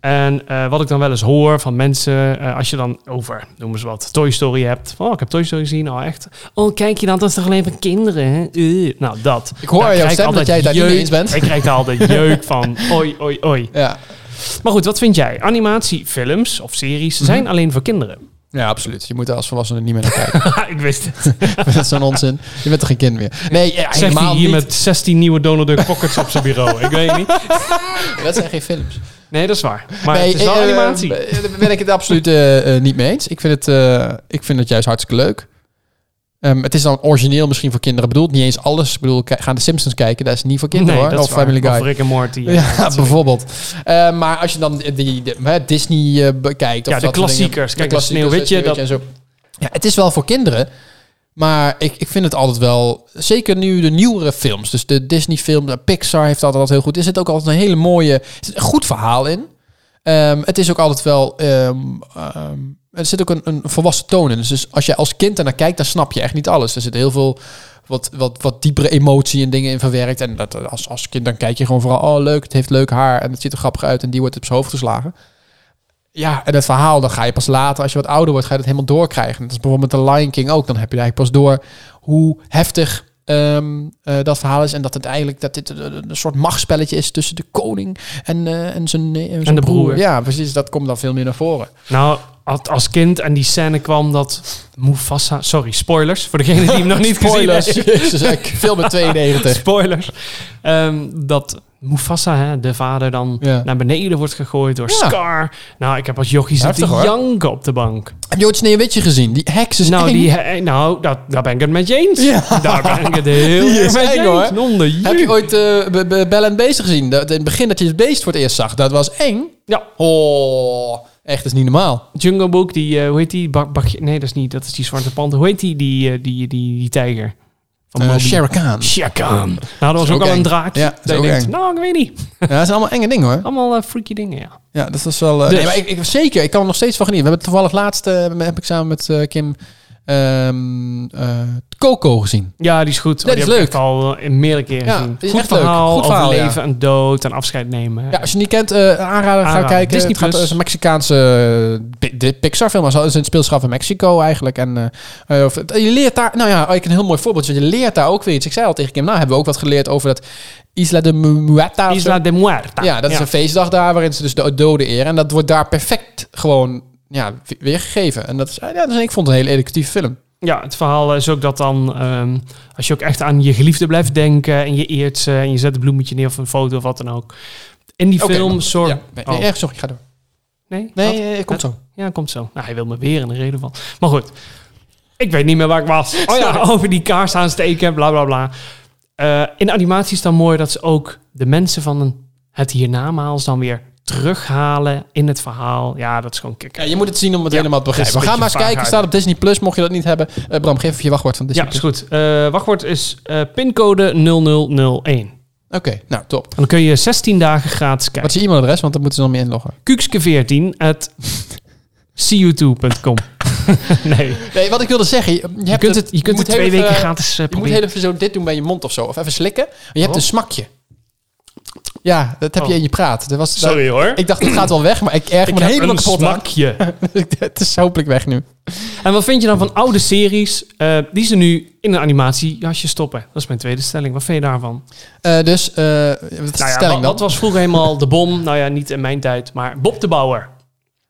Speaker 2: En eh, wat ik dan wel eens hoor van mensen, eh, als je dan over, noem eens wat, Toy Story hebt. Van, oh, ik heb Toy Story gezien, oh echt. Oh, kijk je dan, dat is toch alleen voor kinderen, hè? Eh, Nou, dat.
Speaker 1: Ik hoor
Speaker 2: Nou,
Speaker 1: aan jouw
Speaker 2: krijg
Speaker 1: stem dat
Speaker 2: altijd
Speaker 1: jij het daar niet mee
Speaker 2: jeuk-
Speaker 1: eens bent.
Speaker 2: Ik krijg daar altijd jeuk van, oi, oi, oi.
Speaker 1: Ja.
Speaker 2: Maar goed, wat vind jij? Animatiefilms of series zijn
Speaker 1: Mhm.
Speaker 2: alleen voor kinderen.
Speaker 1: ja, absoluut. Je moet er als volwassene niet meer naar kijken.
Speaker 2: Haha, ik wist het.
Speaker 1: dat is zo'n onzin. Je bent toch geen kind meer? Nee, ja,
Speaker 2: Zegt hij
Speaker 1: helemaal niet.
Speaker 2: hier met 16 nieuwe Donald Duck Pockets op zijn bureau. Ik weet het niet.
Speaker 1: Dat zijn geen films.
Speaker 2: Nee, dat is waar. Maar
Speaker 1: Nee,
Speaker 2: het is wel
Speaker 1: eh,
Speaker 2: animatie.
Speaker 1: eh, daar ben ik het absoluut eh, eh, niet mee eens. Ik vind het, eh, ik vind het juist hartstikke leuk. Ehm, het is dan origineel misschien voor kinderen bedoeld. Niet eens alles. Ik bedoel, ki- gaan de Simpsons kijken, dat is niet voor kinderen
Speaker 2: nee,
Speaker 1: hoor.
Speaker 2: dat is
Speaker 1: Of
Speaker 2: waar.
Speaker 1: Family Guy.
Speaker 2: Of Rick en Morty.
Speaker 1: ja, bijvoorbeeld. Eh, maar als je dan die, de- hè, Disney eh, bekijkt. Of
Speaker 2: Ja, de
Speaker 1: dat soort
Speaker 2: klassiekers.
Speaker 1: dingen.
Speaker 2: Kijk, dat Sneeuwwitje,
Speaker 1: dat... en zo. Ja, het is wel voor kinderen. Maar ik, ik vind het altijd wel... Zeker nu de nieuwere films. Dus de Disney film, de Pixar heeft altijd wat heel goed. Er zit ook altijd een hele mooie... Er zit een goed verhaal in. Ehm, het is ook altijd wel... ehm, ehm, er zit ook een, een volwassen toon in. Dus- Dus als je als kind ernaar kijkt, dan snap je echt niet alles. Er zit heel veel wat, wat, wat diepere emotie en dingen in verwerkt. En dat, als, als kind dan kijk je gewoon vooral... Oh, leuk, het heeft leuk haar en het ziet er grappig uit. En die wordt op zijn hoofd geslagen. Ja, en dat verhaal, dan ga je pas later, als je wat ouder wordt, ga je dat helemaal doorkrijgen. Dat is bijvoorbeeld met The Lion King ook. Dan heb je eigenlijk pas door hoe heftig ehm, eh, dat verhaal is. En dat het eigenlijk dat dit een, een soort machtspelletje is tussen de koning en, eh, en zijn, eh, zijn
Speaker 2: de broer.
Speaker 1: Ja, precies. Dat komt dan veel meer naar voren.
Speaker 2: Nou, als- als kind en die scène kwam dat Mufasa... Sorry, spoilers. Voor degene die hem nog niet
Speaker 1: Spoilers.
Speaker 2: gezien
Speaker 1: Jezus, ik film met 92.
Speaker 2: Spoilers. Ehm, dat Mufasa, hè, de vader, dan
Speaker 1: Ja.
Speaker 2: naar beneden wordt gegooid door
Speaker 1: Ja.
Speaker 2: Scar. Nou, ik heb als jochie zitten
Speaker 1: Heftig, hoor.
Speaker 2: janken op de bank.
Speaker 1: Heb je ooit Sneeuwwitje gezien? Die heks is
Speaker 2: nou,
Speaker 1: eng.
Speaker 2: die, eh, nou dat, daar ben ik het met je eens.
Speaker 1: Ja.
Speaker 2: Daar ben ik het heel
Speaker 1: Die
Speaker 2: erg
Speaker 1: is
Speaker 2: met je
Speaker 1: eng,
Speaker 2: eens.
Speaker 1: hoor.
Speaker 2: Nonde,
Speaker 1: Heb
Speaker 2: jee.
Speaker 1: je ooit eh, Be- Be- Belle en het Beest gezien? Dat, in het begin dat je het beest voor het eerst zag, dat was eng.
Speaker 2: Ja.
Speaker 1: Oh, echt, dat is niet normaal.
Speaker 2: Jungle Book, die, eh, hoe heet die? Bak, Bak- nee, dat is niet. Dat is die zwarte panter. Hoe heet die, die, eh, die, die, die, tijger? Van
Speaker 1: Eh
Speaker 2: Moby.
Speaker 1: Shere Khan.
Speaker 2: Shere Khan. Nou, dat was
Speaker 1: is
Speaker 2: ook
Speaker 1: ook
Speaker 2: al een
Speaker 1: eng.
Speaker 2: draakje.
Speaker 1: Ja,
Speaker 2: Ja,
Speaker 1: dat is
Speaker 2: dat je
Speaker 1: ook
Speaker 2: denkt,
Speaker 1: eng.
Speaker 2: nou, ik weet niet.
Speaker 1: Ja, dat zijn allemaal enge dingen hoor.
Speaker 2: Allemaal eh, freaky dingen, ja.
Speaker 1: Ja, dat was wel... eh,
Speaker 2: Dus-
Speaker 1: nee, maar ik, ik, zeker, ik kan er nog steeds van genieten. We hebben toevallig laatst, eh, heb ik samen met eh, Kim, ehm, eh, Coco gezien.
Speaker 2: Ja, die is goed.
Speaker 1: Dat
Speaker 2: die
Speaker 1: is
Speaker 2: heb ik
Speaker 1: leuk.
Speaker 2: echt al eh, meerdere keren
Speaker 1: Ja,
Speaker 2: gezien.
Speaker 1: die is
Speaker 2: goed,
Speaker 1: echt leuk.
Speaker 2: verhaal,
Speaker 1: Goed verhaal,
Speaker 2: over
Speaker 1: ja.
Speaker 2: leven en dood en afscheid nemen.
Speaker 1: Ja, als je het niet kent, eh aanraden, ga
Speaker 2: Aanraden.
Speaker 1: kijken.
Speaker 2: Disney
Speaker 1: het gaat,
Speaker 2: Plus.
Speaker 1: is een Mexicaanse eh, pi- de Pixar film. maar zo- Het is een speelschap in Mexico eigenlijk. En, eh, eh, of, het- je leert daar... Nou ja, ik een heel mooi voorbeeld. want Je leert daar ook weer iets. Ik zei al tegen Kim, nou hebben we ook wat geleerd over dat Isla de Mu- Muerta. of zo.
Speaker 2: Isla de Muerta.
Speaker 1: Ja, dat is een feestdag daar waarin ze dus de doden eren. En dat wordt daar perfect gewoon ja, we- weergegeven. En dat is, ja, dus ik vond het een hele educatieve film.
Speaker 2: Ja, het verhaal is ook dat dan, ehm, als je ook echt aan je geliefde blijft denken en je eert ze en je zet een bloemetje neer of een foto of wat dan ook. In die
Speaker 1: Oké,
Speaker 2: film zorg...
Speaker 1: Ja, nee, nee,
Speaker 2: Oh.
Speaker 1: erg, sorry, ga door.
Speaker 2: Nee?
Speaker 1: Nee,
Speaker 2: Wat?
Speaker 1: eh, ik kom zo.
Speaker 2: Ja, komt zo. Nou, hij wil me weer in de reden van. Maar goed, ik weet niet meer waar ik was. Oh ja,
Speaker 1: Sorry.
Speaker 2: over die kaars aansteken, bla bla bla. Eh, in de animatie is dan mooi dat ze ook de mensen van een, het hiernamaals dan weer terughalen in het verhaal. Ja, dat is gewoon kick.
Speaker 1: Ja, je moet het zien om het
Speaker 2: Ja,
Speaker 1: helemaal te begrijpen.
Speaker 2: het
Speaker 1: We
Speaker 2: is
Speaker 1: gaan
Speaker 2: een
Speaker 1: maar eens
Speaker 2: beetje
Speaker 1: kijken.
Speaker 2: vaag
Speaker 1: staat op Disney Plus, mocht je dat niet hebben. Eh, Bram, geef even je wachtwoord van Disney
Speaker 2: Ja, is
Speaker 1: Plus.
Speaker 2: goed. Eh, wachtwoord is eh, pincode 0001.
Speaker 1: Oké, nou top.
Speaker 2: En dan kun je 16 dagen gratis
Speaker 1: Wat
Speaker 2: kijken.
Speaker 1: is je e-mailadres? Want dan moeten ze nog mee inloggen.
Speaker 2: Kuxke14 at cu2.com. nee.
Speaker 1: Nee, wat ik wilde zeggen. Je, hebt
Speaker 2: Je kunt het, je kunt
Speaker 1: moet
Speaker 2: het twee
Speaker 1: heel even,
Speaker 2: weken
Speaker 1: eh,
Speaker 2: gratis eh,
Speaker 1: Je moet
Speaker 2: proberen.
Speaker 1: heel even zo dit doen bij je mond of zo. Of even slikken. Maar je hebt
Speaker 2: Oh.
Speaker 1: een smakje. Ja, dat heb je
Speaker 2: Oh.
Speaker 1: in je praat. Dat was, dat-
Speaker 2: Sorry hoor.
Speaker 1: ik dacht, het gaat wel weg, maar ik erg me er helemaal kapot aan. het is hopelijk weg nu.
Speaker 2: En wat vind je dan van oude series eh, die ze nu in een animatiejasje stoppen? Dat is mijn tweede stelling. Wat vind je daarvan?
Speaker 1: Eh, dus, eh, wat is de
Speaker 2: Nou ja,
Speaker 1: stelling
Speaker 2: wat,
Speaker 1: dan?
Speaker 2: wat was vroeger helemaal de bom? Nou ja, niet in mijn tijd, maar Bob de Bauer.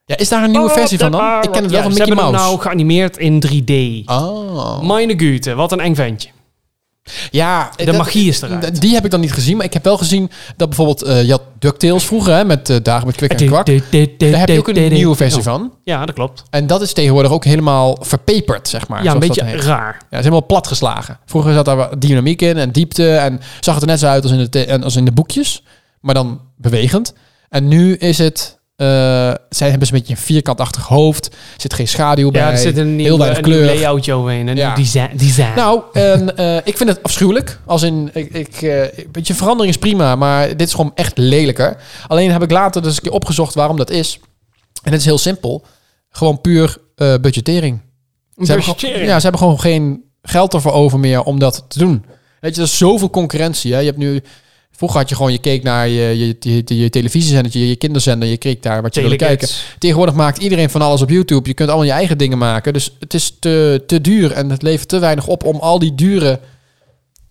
Speaker 1: Ja, is daar een nieuwe
Speaker 2: Bob
Speaker 1: versie
Speaker 2: Oh, de
Speaker 1: van dan?
Speaker 2: Bauer.
Speaker 1: Ik ken het
Speaker 2: Ja,
Speaker 1: wel van
Speaker 2: ze
Speaker 1: Mickey
Speaker 2: hebben hem
Speaker 1: Mouse.
Speaker 2: nou geanimeerd in 3D.
Speaker 1: Oh.
Speaker 2: Meine Güte, wat een eng ventje.
Speaker 1: Ja,
Speaker 2: De
Speaker 1: dat-
Speaker 2: magie is eruit.
Speaker 1: d- Die heb ik dan niet gezien, maar ik heb wel gezien dat bijvoorbeeld eh je had DuckTales vroeger hè, met eh, dagen met kwik en kwak. Daar heb je ook een nieuwe versie van.
Speaker 2: Ja, dat klopt.
Speaker 1: En dat is tegenwoordig ook helemaal verpeperd, zeg maar.
Speaker 2: Ja, een
Speaker 1: zoals dat
Speaker 2: beetje
Speaker 1: heet.
Speaker 2: raar.
Speaker 1: Ja, het is helemaal platgeslagen. Vroeger zat daar wat dynamiek in en diepte en zag het er net zo uit als in de, te- en als in de boekjes, maar dan bewegend. En nu is het, eh, zij hebben ze een beetje een vierkantachtig hoofd, er zit geen schaduw
Speaker 2: Ja,
Speaker 1: bij,
Speaker 2: er zit een nieuw,
Speaker 1: heel weinig
Speaker 2: een nieuw
Speaker 1: kleur.
Speaker 2: layoutje overheen. Een
Speaker 1: Ja.
Speaker 2: nieuw design. design.
Speaker 1: Nou, en, eh, ik vind het afschuwelijk. Als in, ik, ik, eh, een beetje verandering is prima, maar dit is gewoon echt lelijker. Alleen heb ik later dus een keer opgezocht waarom dat is. En het is heel simpel. Gewoon puur eh, budgettering.
Speaker 2: Een
Speaker 1: Ze hebben,
Speaker 2: budgettering.
Speaker 1: gewoon, ja, ze hebben gewoon geen geld ervoor over meer om dat te doen. Weet je, er is zoveel concurrentie. Hè? Je hebt nu... Vroeger had je gewoon, je keek naar je, je, je, je, televisiezendertje, je kinderzender. Je keek daar wat je wilde kijken.
Speaker 2: Telekids.
Speaker 1: Tegenwoordig maakt iedereen van alles op YouTube. Je kunt allemaal je eigen dingen maken. Dus het is te, te duur en het levert te weinig op om al die dure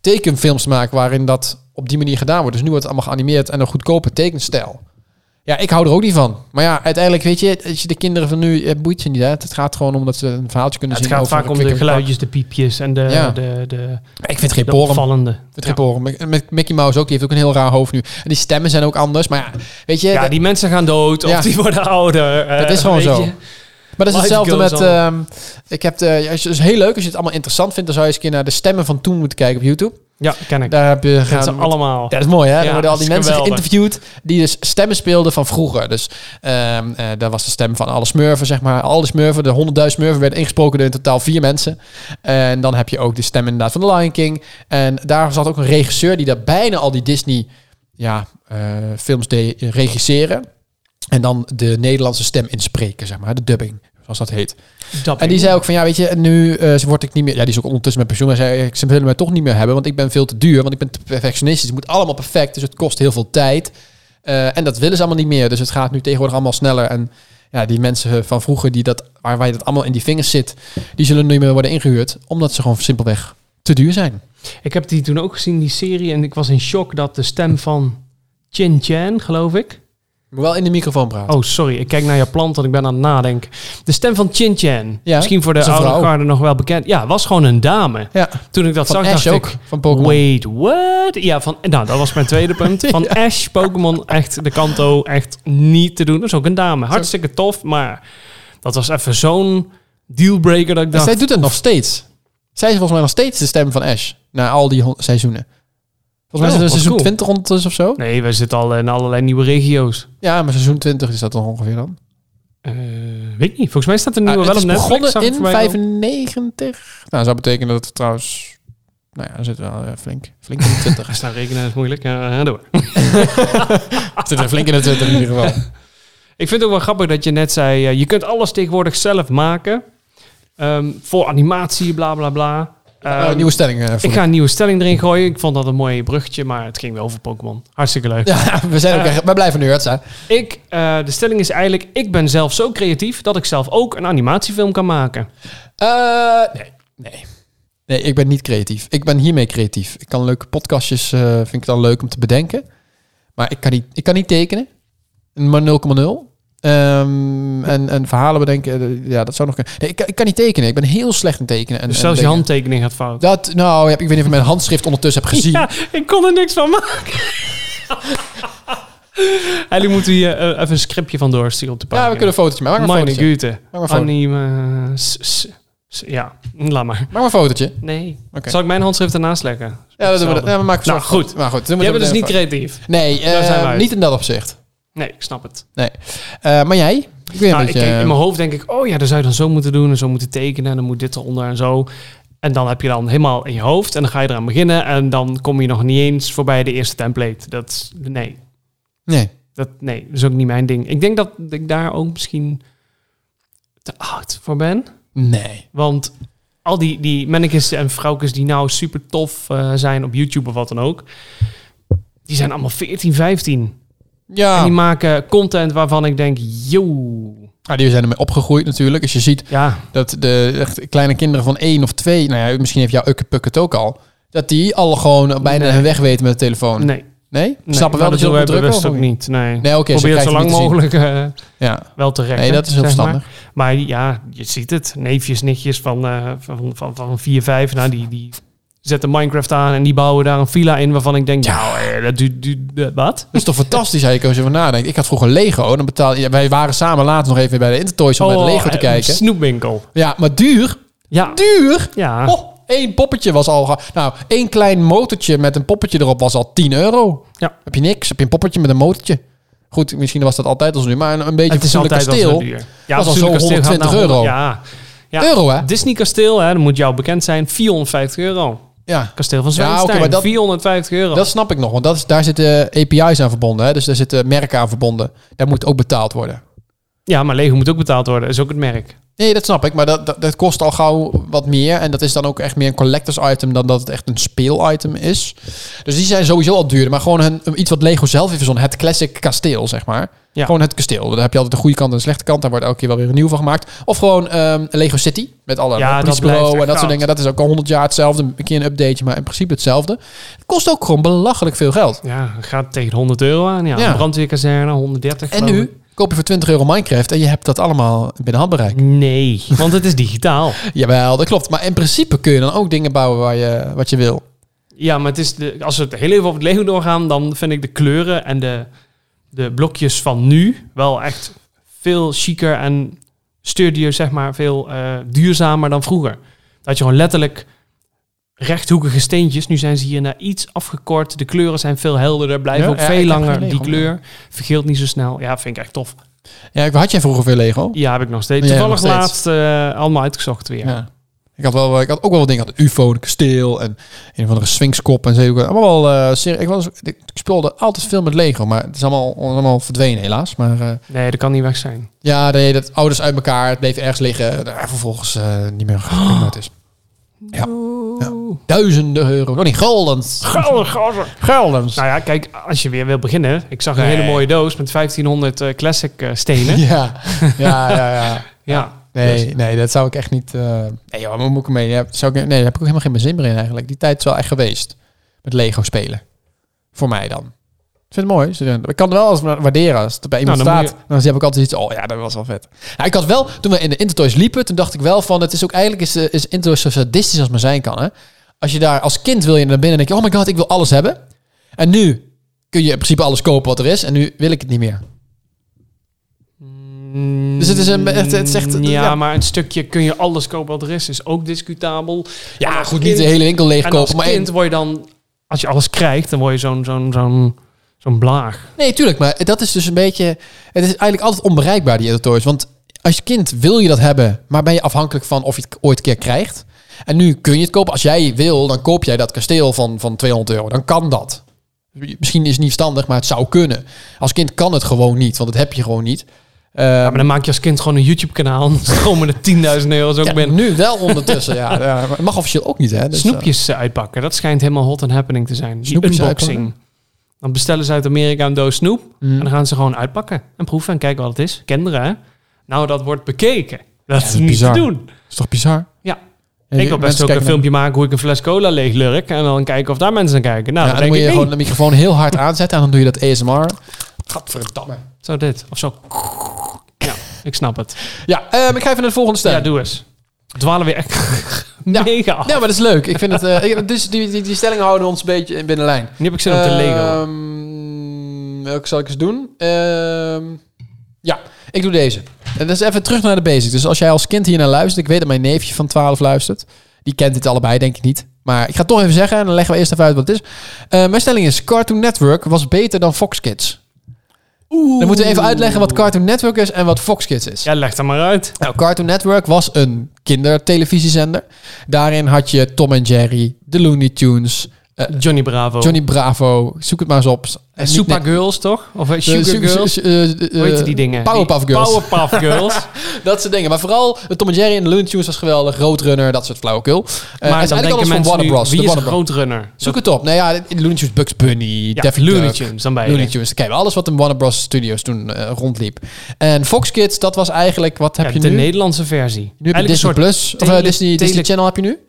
Speaker 1: tekenfilms te maken waarin dat op die manier gedaan wordt. Dus nu wordt het allemaal geanimeerd en een goedkope tekenstijl. Ja, ik hou er ook niet van. Maar ja, uiteindelijk weet je, als je de kinderen van nu het boeit je niet. Hè? Het gaat gewoon om dat ze een verhaaltje kunnen
Speaker 2: Het
Speaker 1: zien.
Speaker 2: gaat
Speaker 1: over
Speaker 2: vaak om
Speaker 1: Kwik
Speaker 2: de
Speaker 1: en Kwak.
Speaker 2: geluidjes, de piepjes en de,
Speaker 1: Ja.
Speaker 2: de, de,
Speaker 1: Ik vind het
Speaker 2: de
Speaker 1: geen porum.
Speaker 2: opvallende.
Speaker 1: Ik vind het geen porum. Met- Met Mickey Mouse ook, die heeft ook een heel raar hoofd nu. En die stemmen zijn ook anders. Maar ja, weet je,
Speaker 2: Ja,
Speaker 1: dat-
Speaker 2: die mensen gaan dood
Speaker 1: Ja.
Speaker 2: of die worden ouder. eh,
Speaker 1: Dat is gewoon
Speaker 2: weet
Speaker 1: zo.
Speaker 2: je.
Speaker 1: Maar dat is
Speaker 2: Life
Speaker 1: hetzelfde
Speaker 2: goes
Speaker 1: met...
Speaker 2: on.
Speaker 1: ehm, ik heb de, ja, het is heel leuk als je het allemaal interessant vindt. Dan zou je eens een keer naar de stemmen van toen moeten kijken op YouTube.
Speaker 2: Ja, ken ik.
Speaker 1: Daar heb je
Speaker 2: Dat
Speaker 1: gaan...
Speaker 2: zijn allemaal.
Speaker 1: Ja, dat is mooi, hè?
Speaker 2: Ja,
Speaker 1: Dan worden al die
Speaker 2: dat is
Speaker 1: mensen
Speaker 2: geweldig.
Speaker 1: geïnterviewd die dus stemmen speelden van vroeger. Dus ehm eh, daar was de stem van alle smurfen, zeg maar. Alle smurfen, de 100.000 smurfen werden ingesproken door in totaal vier mensen. En dan heb je ook de stem inderdaad van The Lion King. En daar zat ook een regisseur die daar bijna al die Disney ja, eh, films deed regisseren. En dan de Nederlandse stem inspreken, zeg maar. De dubbing, zoals dat heet.
Speaker 2: Dappie.
Speaker 1: En die zei ook van ja, weet je, nu eh, ze word ik niet meer. Ja, die is ook ondertussen met pensioen. Hij zei, ze willen mij toch niet meer hebben, want ik ben veel te duur, want ik ben te perfectionistisch. Het moet allemaal perfect, dus het kost heel veel tijd. Eh, en dat willen ze allemaal niet meer. Dus het gaat nu tegenwoordig allemaal sneller. En ja, die mensen van vroeger die dat, waar, waar je dat allemaal in die vingers zit, die zullen nu niet meer worden ingehuurd, omdat ze gewoon simpelweg te duur zijn.
Speaker 2: Ik heb die toen ook gezien, die serie. En ik was in shock dat de stem van Chin Chan, geloof ik.
Speaker 1: Moet wel in de microfoon praten.
Speaker 2: Oh, sorry. Ik kijk naar je plant, want ik ben aan het nadenken. De stem van Chin Chan.
Speaker 1: Ja,
Speaker 2: Misschien voor de
Speaker 1: is een
Speaker 2: oude
Speaker 1: vrouw.
Speaker 2: garde nog wel bekend. Ja, was gewoon een dame.
Speaker 1: Ja,
Speaker 2: Toen ik dat
Speaker 1: van
Speaker 2: zag,
Speaker 1: Ash
Speaker 2: dacht
Speaker 1: ook,
Speaker 2: ik...
Speaker 1: van Pokémon.
Speaker 2: Wait, what? Ja, van, nou, dat was mijn tweede punt. Van Ash, Pokémon, echt de kanto, echt niet te doen. Dat is ook een dame. Hartstikke tof, maar dat was even zo'n dealbreaker dat
Speaker 1: En
Speaker 2: ik dacht...
Speaker 1: zij doet het nog steeds. Zij is volgens mij nog steeds de stem van Ash. Na al die hon- seizoenen. Volgens mij
Speaker 2: Oh,
Speaker 1: is
Speaker 2: wat
Speaker 1: er seizoen
Speaker 2: cool.
Speaker 1: 20 ondertussen of zo.
Speaker 2: Nee, we zitten al in allerlei nieuwe regio's.
Speaker 1: Ja, maar seizoen 20 is dat dan ongeveer dan.
Speaker 2: Eh, weet ik niet. Volgens mij staat er nu
Speaker 1: Ah,
Speaker 2: wel
Speaker 1: het is
Speaker 2: op Netflix.
Speaker 1: begonnen
Speaker 2: zag ik
Speaker 1: in
Speaker 2: voorbij komen.
Speaker 1: 95. Nou, zou betekenen dat het trouwens... Nou ja, er zit wel eh, flink, flink in de 20.
Speaker 2: Als nou rekenen is moeilijk. Ja, door.
Speaker 1: Er zit er flink in de 20 in ieder geval.
Speaker 2: Ik vind het ook wel grappig dat je net zei... eh, je kunt alles tegenwoordig zelf maken. Ehm, voor animatie, bla bla bla.
Speaker 1: Eh,
Speaker 2: Ehm,
Speaker 1: nieuwe stelling. eh, voor
Speaker 2: Ik ga een nieuwe stelling erin gooien. Ik vond dat een mooi bruggetje, maar het ging wel over Pokémon. Hartstikke leuk.
Speaker 1: ja, we, zijn ook
Speaker 2: Eh.
Speaker 1: echt, we blijven nerds, hè?
Speaker 2: Ik, eh, de stelling is eigenlijk, ik ben zelf zo creatief dat ik zelf ook een animatiefilm kan maken.
Speaker 1: Eh, nee, nee. Nee, ik ben niet creatief. Ik ben hiermee creatief. Ik kan leuke podcastjes, eh, vind ik dan leuk om te bedenken. Maar ik kan niet, ik kan niet tekenen. Maar 0,0. Ehm, en, en verhalen bedenken, eh, ja, dat zou nog kunnen. Nee, ik, kan- ik kan niet tekenen. Ik ben heel slecht in tekenen. En,
Speaker 2: Dus
Speaker 1: en
Speaker 2: zelfs je
Speaker 1: dingen.
Speaker 2: handtekening gaat fout.
Speaker 1: Dat, nou, ja, ik weet niet of ik mijn handschrift ondertussen heb gezien.
Speaker 2: Ja, ik kon er niks van maken. Eigenlijk moeten we hier eh, even een scriptje van doorsturen op de
Speaker 1: Ja,
Speaker 2: pagina.
Speaker 1: we kunnen een fotootje maken. Maak maar een
Speaker 2: Meine
Speaker 1: fotootje.
Speaker 2: Güte.
Speaker 1: Maak maar een foto.
Speaker 2: Anime. s- s- s- Ja, laat maar.
Speaker 1: Maak maar een fotootje.
Speaker 2: Nee.
Speaker 1: Oké.
Speaker 2: Zal ik mijn handschrift ernaast leggen?
Speaker 1: Ja, dat doen we. Ja, we maken
Speaker 2: Nou,
Speaker 1: zo'n foto.
Speaker 2: goed.
Speaker 1: Maar goed. dan
Speaker 2: Jij
Speaker 1: moeten
Speaker 2: bent
Speaker 1: we
Speaker 2: dus niet
Speaker 1: meteen een
Speaker 2: creatief.
Speaker 1: foto- Nee, eh,
Speaker 2: zijn we uit.
Speaker 1: niet in dat opzicht.
Speaker 2: Nee, ik snap het.
Speaker 1: Nee. Eh, maar jij? eh, Ik weet
Speaker 2: Nou,
Speaker 1: een
Speaker 2: ik
Speaker 1: beetje...
Speaker 2: kijk, in mijn hoofd denk ik, oh ja, dan zou je dan zo moeten doen en zo moeten tekenen en dan moet dit eronder en zo. En dan heb je dan helemaal in je hoofd en dan ga je eraan beginnen en dan kom je nog niet eens voorbij de eerste template. Dat is, nee,
Speaker 1: Nee.
Speaker 2: dat, nee, dat is ook niet mijn ding. Ik denk dat ik daar ook misschien te oud voor ben.
Speaker 1: Nee.
Speaker 2: Want al die, die mannekes en vrouwkes die nou super tof eh, zijn op YouTube of wat dan ook, die zijn allemaal 14, 15. En
Speaker 1: Ja,
Speaker 2: die maken content waarvan ik denk, yo.
Speaker 1: ah, die zijn ermee opgegroeid natuurlijk. Als je ziet
Speaker 2: Ja,
Speaker 1: dat de echt kleine kinderen van één of twee... Nou ja, misschien heeft jouw ukkepuk het ook al. Dat die al gewoon bijna
Speaker 2: Nee.
Speaker 1: hun weg weten met de telefoon. Nee?
Speaker 2: nee.
Speaker 1: We snappen wel dat je
Speaker 2: doen
Speaker 1: dat
Speaker 2: wij
Speaker 1: moet drukken?
Speaker 2: bewust
Speaker 1: of
Speaker 2: ook niet. Nee.
Speaker 1: Nee, oké. ze
Speaker 2: Probeer het zo
Speaker 1: krijgen
Speaker 2: lang
Speaker 1: niet te zien.
Speaker 2: mogelijk eh,
Speaker 1: Ja.
Speaker 2: wel te rekken.
Speaker 1: Nee, dat is heel
Speaker 2: zeg maar.
Speaker 1: verstandig.
Speaker 2: Maar ja, je ziet het. Neefjes, nichtjes van, eh van, van, van 4, 5. Nou, die, die zetten Minecraft aan en die bouwen daar een villa in waarvan ik denk,
Speaker 1: Ja.
Speaker 2: nou, eh, dat duurt... duurt- eh, wat?
Speaker 1: Dat is toch fantastisch eigenlijk als je van nadenkt. Ik had vroeger Lego. Dan betaal, ja, wij waren samen later nog even bij de Intertoys om bij de Lego te
Speaker 2: eh,
Speaker 1: kijken.
Speaker 2: Snoepwinkel.
Speaker 1: Ja, maar duur.
Speaker 2: Ja,
Speaker 1: Duur.
Speaker 2: ja.
Speaker 1: Oh, één poppetje was al... ge- Nou, één klein motortje met een poppetje erop was al 10 euro.
Speaker 2: Ja.
Speaker 1: Heb je niks. Heb je een poppetje met een motortje. Goed, misschien was dat altijd als nu. Maar een, een beetje
Speaker 2: het is
Speaker 1: fatsoenlijk
Speaker 2: altijd al zo
Speaker 1: kasteel.
Speaker 2: duur. Ja,
Speaker 1: al zo
Speaker 2: natuurlijk kasteel gaat
Speaker 1: 120
Speaker 2: naar
Speaker 1: euro.
Speaker 2: honderd- Ja. Ja.
Speaker 1: Euro, hè?
Speaker 2: Disney kasteel, hè, dat moet jou bekend zijn, 450 euro.
Speaker 1: Ja.
Speaker 2: Kasteel van
Speaker 1: Ja, oké,
Speaker 2: Zwijnstein,
Speaker 1: maar dat-
Speaker 2: 450 euro.
Speaker 1: Dat snap ik nog, want dat is, daar zitten API's aan verbonden. Hè? Dus daar zitten merken aan verbonden. Daar moet ook betaald worden.
Speaker 2: Ja, maar Lego moet ook betaald worden. Dat is ook het merk.
Speaker 1: Nee, dat snap ik. Maar dat, dat, dat kost al gauw wat meer. En dat is dan ook echt meer een collectors item dan dat het echt een speelitem is. Dus die zijn sowieso al duurder. Maar gewoon een, iets wat Lego zelf heeft verzonnen. Het classic kasteel, zeg maar.
Speaker 2: Ja.
Speaker 1: Gewoon het kasteel. Daar heb je altijd de goede kant en de slechte kant. Daar wordt elke keer wel weer een nieuw van gemaakt. Of gewoon ehm, Lego City. Met alle
Speaker 2: Ja, dat
Speaker 1: politiebureau
Speaker 2: blijft echt
Speaker 1: en dat soort
Speaker 2: goud.
Speaker 1: dingen. Dat is ook al 100 jaar hetzelfde. Een keer een updateje, maar in principe hetzelfde. Het kost ook gewoon belachelijk veel geld.
Speaker 2: Ja, het gaat tegen de 100 euro aan. Ja,
Speaker 1: Ja.
Speaker 2: een brandweerkazerne, 130.
Speaker 1: En
Speaker 2: geloof
Speaker 1: nu
Speaker 2: ik.
Speaker 1: koop je voor 20 euro Minecraft en je hebt dat allemaal binnen handbereik.
Speaker 2: Nee, want het is digitaal.
Speaker 1: Jawel, dat klopt. Maar in principe kun je dan ook dingen bouwen waar je, wat je wil.
Speaker 2: Ja, maar het is de, als we het heel even op het Lego doorgaan, dan vind ik de kleuren en de, de blokjes van nu wel echt veel chiquer en sturdier, zeg maar, veel eh, duurzamer dan vroeger. Dat je gewoon letterlijk rechthoekige steentjes, nu zijn ze hier naar iets afgekort. De kleuren zijn veel helderder, blijven
Speaker 1: Ja,
Speaker 2: ook
Speaker 1: ja, ik
Speaker 2: veel
Speaker 1: heb
Speaker 2: langer.
Speaker 1: geen Lego
Speaker 2: Die
Speaker 1: meer.
Speaker 2: kleur vergeelt niet zo snel. Ja, vind ik echt tof.
Speaker 1: Ja, ik- had jij vroeger veel Lego?
Speaker 2: Ja, heb ik nog steeds.
Speaker 1: Ja,
Speaker 2: Toevallig
Speaker 1: nog steeds.
Speaker 2: laatst eh, allemaal uitgezocht weer.
Speaker 1: Ja. Ik had, wel, ik had ook wel wat dingen. Ik had een UFO, een kasteel en een of andere Sphinxkop en zo. Allemaal wel, eh, serie- ik, was, ik speelde altijd veel met Lego, maar het is allemaal, allemaal verdwenen helaas. Maar eh,
Speaker 2: Nee, dat kan niet weg zijn.
Speaker 1: ja, nee, dat ouders uit elkaar, het bleef ergens liggen. Nou, vervolgens eh, niet meer gekomen wat het is. Ja. Duizenden euro. Oh nee, guldens.
Speaker 2: Gelder, gozer.
Speaker 1: Guldens.
Speaker 2: Nou ja, kijk, als je weer wil beginnen. Ik zag een
Speaker 1: Nee.
Speaker 2: hele mooie doos met 1500 eh, classic eh, stenen. Ja.
Speaker 1: Ja, ja, ja. ja. Nee,
Speaker 2: Dus-
Speaker 1: nee, dat zou ik echt niet. eh, nee, joh, maar moet ik ermee? Ja, zou ik, nee, daar heb ik ook helemaal geen meer zin meer in eigenlijk. Die tijd is wel echt geweest. Met Lego spelen. Voor mij dan. Ik vind het mooi. Ze doen- Ik kan het wel als waarderen. Als het bij iemand
Speaker 2: Nou, dan
Speaker 1: staat, dan heb ik altijd iets. Oh ja, dat was wel vet. Nou, ik had wel, toen we in de Intertoys liepen, toen dacht ik wel van, het is ook eigenlijk is, eh, is Intertoys zo sadistisch als maar zijn kan. Hè? Als je daar als kind wil je naar binnen en denk je, oh my god, ik wil alles hebben. En nu kun je in principe alles kopen wat er is. En nu wil ik het niet meer. Dus het is een- het- het is echt-
Speaker 2: Mm, ja,
Speaker 1: ja.
Speaker 2: maar een stukje kun je alles kopen wat er is. Is ook discutabel. En
Speaker 1: Ja,
Speaker 2: als
Speaker 1: goed,
Speaker 2: kind-
Speaker 1: niet de hele winkel
Speaker 2: En als
Speaker 1: leegkopen. Maar één-
Speaker 2: kind word je dan... Als je alles krijgt, dan word je zo'n zo'n zo'n zo'n blaag.
Speaker 1: Nee, tuurlijk. Maar dat is dus een beetje... Het is eigenlijk altijd onbereikbaar, die editors. Want als kind wil je dat hebben, maar ben je afhankelijk van of je het ooit een keer krijgt. En nu kun je het kopen. Als jij wil, dan koop jij dat kasteel van, van 200 euro. Dan kan dat. Misschien is het niet verstandig, maar het zou kunnen. Als kind kan het gewoon niet, want dat heb je gewoon niet. Eh,
Speaker 2: Ja, maar dan maak je als kind gewoon een YouTube-kanaal. en Dan komen er 10.000 euro's ook
Speaker 1: ja,
Speaker 2: binnen.
Speaker 1: nu wel ondertussen, ja. ja maar het mag officieel ook niet, hè. Dus, eh,
Speaker 2: Snoepjes eh, uitpakken, dat schijnt helemaal hot and happening te zijn. Die
Speaker 1: Snoepjes
Speaker 2: unboxing.
Speaker 1: uitpakken?
Speaker 2: Dan bestellen ze uit Amerika een doos snoep.
Speaker 1: Mm.
Speaker 2: En dan gaan ze gewoon uitpakken en proeven en kijken wat het is. Kinderen, hè? Nou, dat wordt bekeken. Dat
Speaker 1: dat
Speaker 2: is
Speaker 1: is
Speaker 2: niet
Speaker 1: bizar.
Speaker 2: te doen.
Speaker 1: is toch bizar?
Speaker 2: Ja.
Speaker 1: Eh,
Speaker 2: ik wil best
Speaker 1: mensen
Speaker 2: ook een
Speaker 1: kijken naar-
Speaker 2: filmpje maken hoe ik een fles cola leeg lurk. En dan kijken of daar mensen naar kijken. Nou,
Speaker 1: Ja,
Speaker 2: dat
Speaker 1: dan
Speaker 2: denk
Speaker 1: moet
Speaker 2: ik
Speaker 1: je
Speaker 2: niet.
Speaker 1: gewoon de microfoon heel hard aanzetten en dan doe je dat ASMR. Gadverdamme.
Speaker 2: Zo dit, of zo. Ik snap het.
Speaker 1: Ja, ehm, ik ga even naar de volgende stem.
Speaker 2: Ja, doe eens. Dwalen weer echt
Speaker 1: Ja.
Speaker 2: mega af.
Speaker 1: Ja, maar dat is leuk. Ik vind het, eh, ik- dus die, die, die stellingen houden ons een beetje binnen lijn.
Speaker 2: Nu heb ik zin om
Speaker 1: Eh,
Speaker 2: te Lego.
Speaker 1: Ehm, welke zal ik eens doen? Ehm, ja, ik doe deze. En dat is even terug naar de basics. Dus als jij als kind hier naar luistert, ik weet dat mijn neefje van 12 luistert. Die kent dit allebei, denk ik niet. Maar ik ga het toch even zeggen en dan leggen we eerst even uit wat het is. Eh, mijn stelling is: Cartoon Network was beter dan Fox Kids. Dan moeten we even uitleggen wat Cartoon Network is en wat Fox Kids is.
Speaker 2: Ja, leg dat maar uit.
Speaker 1: Nou, Cartoon Network was een kindertelevisiezender. Daarin had je Tom en Jerry, de Looney Tunes,
Speaker 2: Johnny Bravo.
Speaker 1: Johnny Bravo. Zoek het maar eens op.
Speaker 2: Oh. en
Speaker 1: niet-
Speaker 2: Super
Speaker 1: nee,
Speaker 2: Girls, toch? Of eh,
Speaker 1: eh,
Speaker 2: Sugar
Speaker 1: Su-
Speaker 2: Girls?
Speaker 1: Su- eh, eh,
Speaker 2: Hoe heet die dingen?
Speaker 1: Powerpuff
Speaker 2: Die-
Speaker 1: Girls. Eh,
Speaker 2: Powerpuff Girls.
Speaker 1: Dat soort dingen. Maar vooral eh, Tom en Jerry en de Looney Tunes was geweldig. Roadrunner, dat soort flauwekul. Eh,
Speaker 2: maar
Speaker 1: het is
Speaker 2: dan
Speaker 1: eigenlijk
Speaker 2: denken
Speaker 1: alles van
Speaker 2: mensen
Speaker 1: Warner
Speaker 2: nu,
Speaker 1: Bros.
Speaker 2: wie
Speaker 1: de
Speaker 2: is een
Speaker 1: Warner Bros.
Speaker 2: grootrunner?
Speaker 1: Zoek het op. Nou ja, de Looney Tunes, Bugs Bunny,
Speaker 2: Ja,
Speaker 1: Daffy
Speaker 2: Looney
Speaker 1: Duck.
Speaker 2: Tunes, dan ben je
Speaker 1: Looney
Speaker 2: er.
Speaker 1: Tunes, dan ken je alles wat in Warner Bros. Studios toen eh, rondliep. En Fox Kids, dat was eigenlijk, wat heb
Speaker 2: Ja,
Speaker 1: je
Speaker 2: de
Speaker 1: nu?
Speaker 2: Nederlandse versie.
Speaker 1: Nu heb je
Speaker 2: Eigenlijk
Speaker 1: Disney
Speaker 2: een
Speaker 1: Plus,
Speaker 2: soort
Speaker 1: of eh,
Speaker 2: tele-
Speaker 1: Disney,
Speaker 2: tele-
Speaker 1: Disney Channel heb je nu.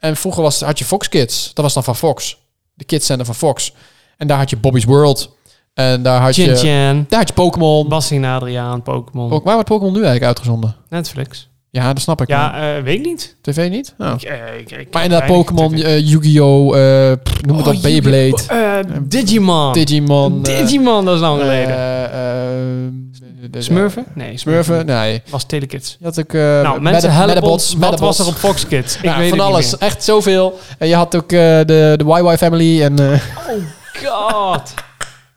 Speaker 1: En vroeger was, had je Fox Kids. Dat was dan van Fox. De kidscenter van Fox. En daar had je Bobby's World. En daar had
Speaker 2: Chin
Speaker 1: je...
Speaker 2: Chan,
Speaker 1: Daar had je Pokémon.
Speaker 2: Bassie en Adriaan, Pokémon,
Speaker 1: Ook- Waar wordt Pokémon nu eigenlijk uitgezonden?
Speaker 2: Netflix.
Speaker 1: Ja, dat snap ik.
Speaker 2: Ja,
Speaker 1: maar.
Speaker 2: eh, weet ik niet.
Speaker 1: TV niet? Nou.
Speaker 2: Ik, eh, ik- ik- ik-
Speaker 1: Maar inderdaad,
Speaker 2: weinig
Speaker 1: Pokémon,
Speaker 2: tv.
Speaker 1: eh, Yu-Gi-Oh! eh, pff, noem het
Speaker 2: Oh,
Speaker 1: op, Beyblade,
Speaker 2: Yu-Gi-Oh! Eh, Digimon.
Speaker 1: Digimon. eh,
Speaker 2: Digimon, dat is lang
Speaker 1: eh,
Speaker 2: geleden.
Speaker 1: eh, eh, de- de-
Speaker 2: Smurfen? Nee,
Speaker 1: Smurfen? Nee.
Speaker 2: Was Telekids.
Speaker 1: Je had ook... eh,
Speaker 2: nou, mensen
Speaker 1: Meta-
Speaker 2: helpen
Speaker 1: Metabots,
Speaker 2: ons. Wat
Speaker 1: Metabots.
Speaker 2: was er op Fox Kids? Ik
Speaker 1: Nou,
Speaker 2: weet
Speaker 1: van
Speaker 2: het
Speaker 1: alles.
Speaker 2: Niet
Speaker 1: Echt zoveel. En je had ook eh, de, de YY Family. En, eh,
Speaker 2: meer. God.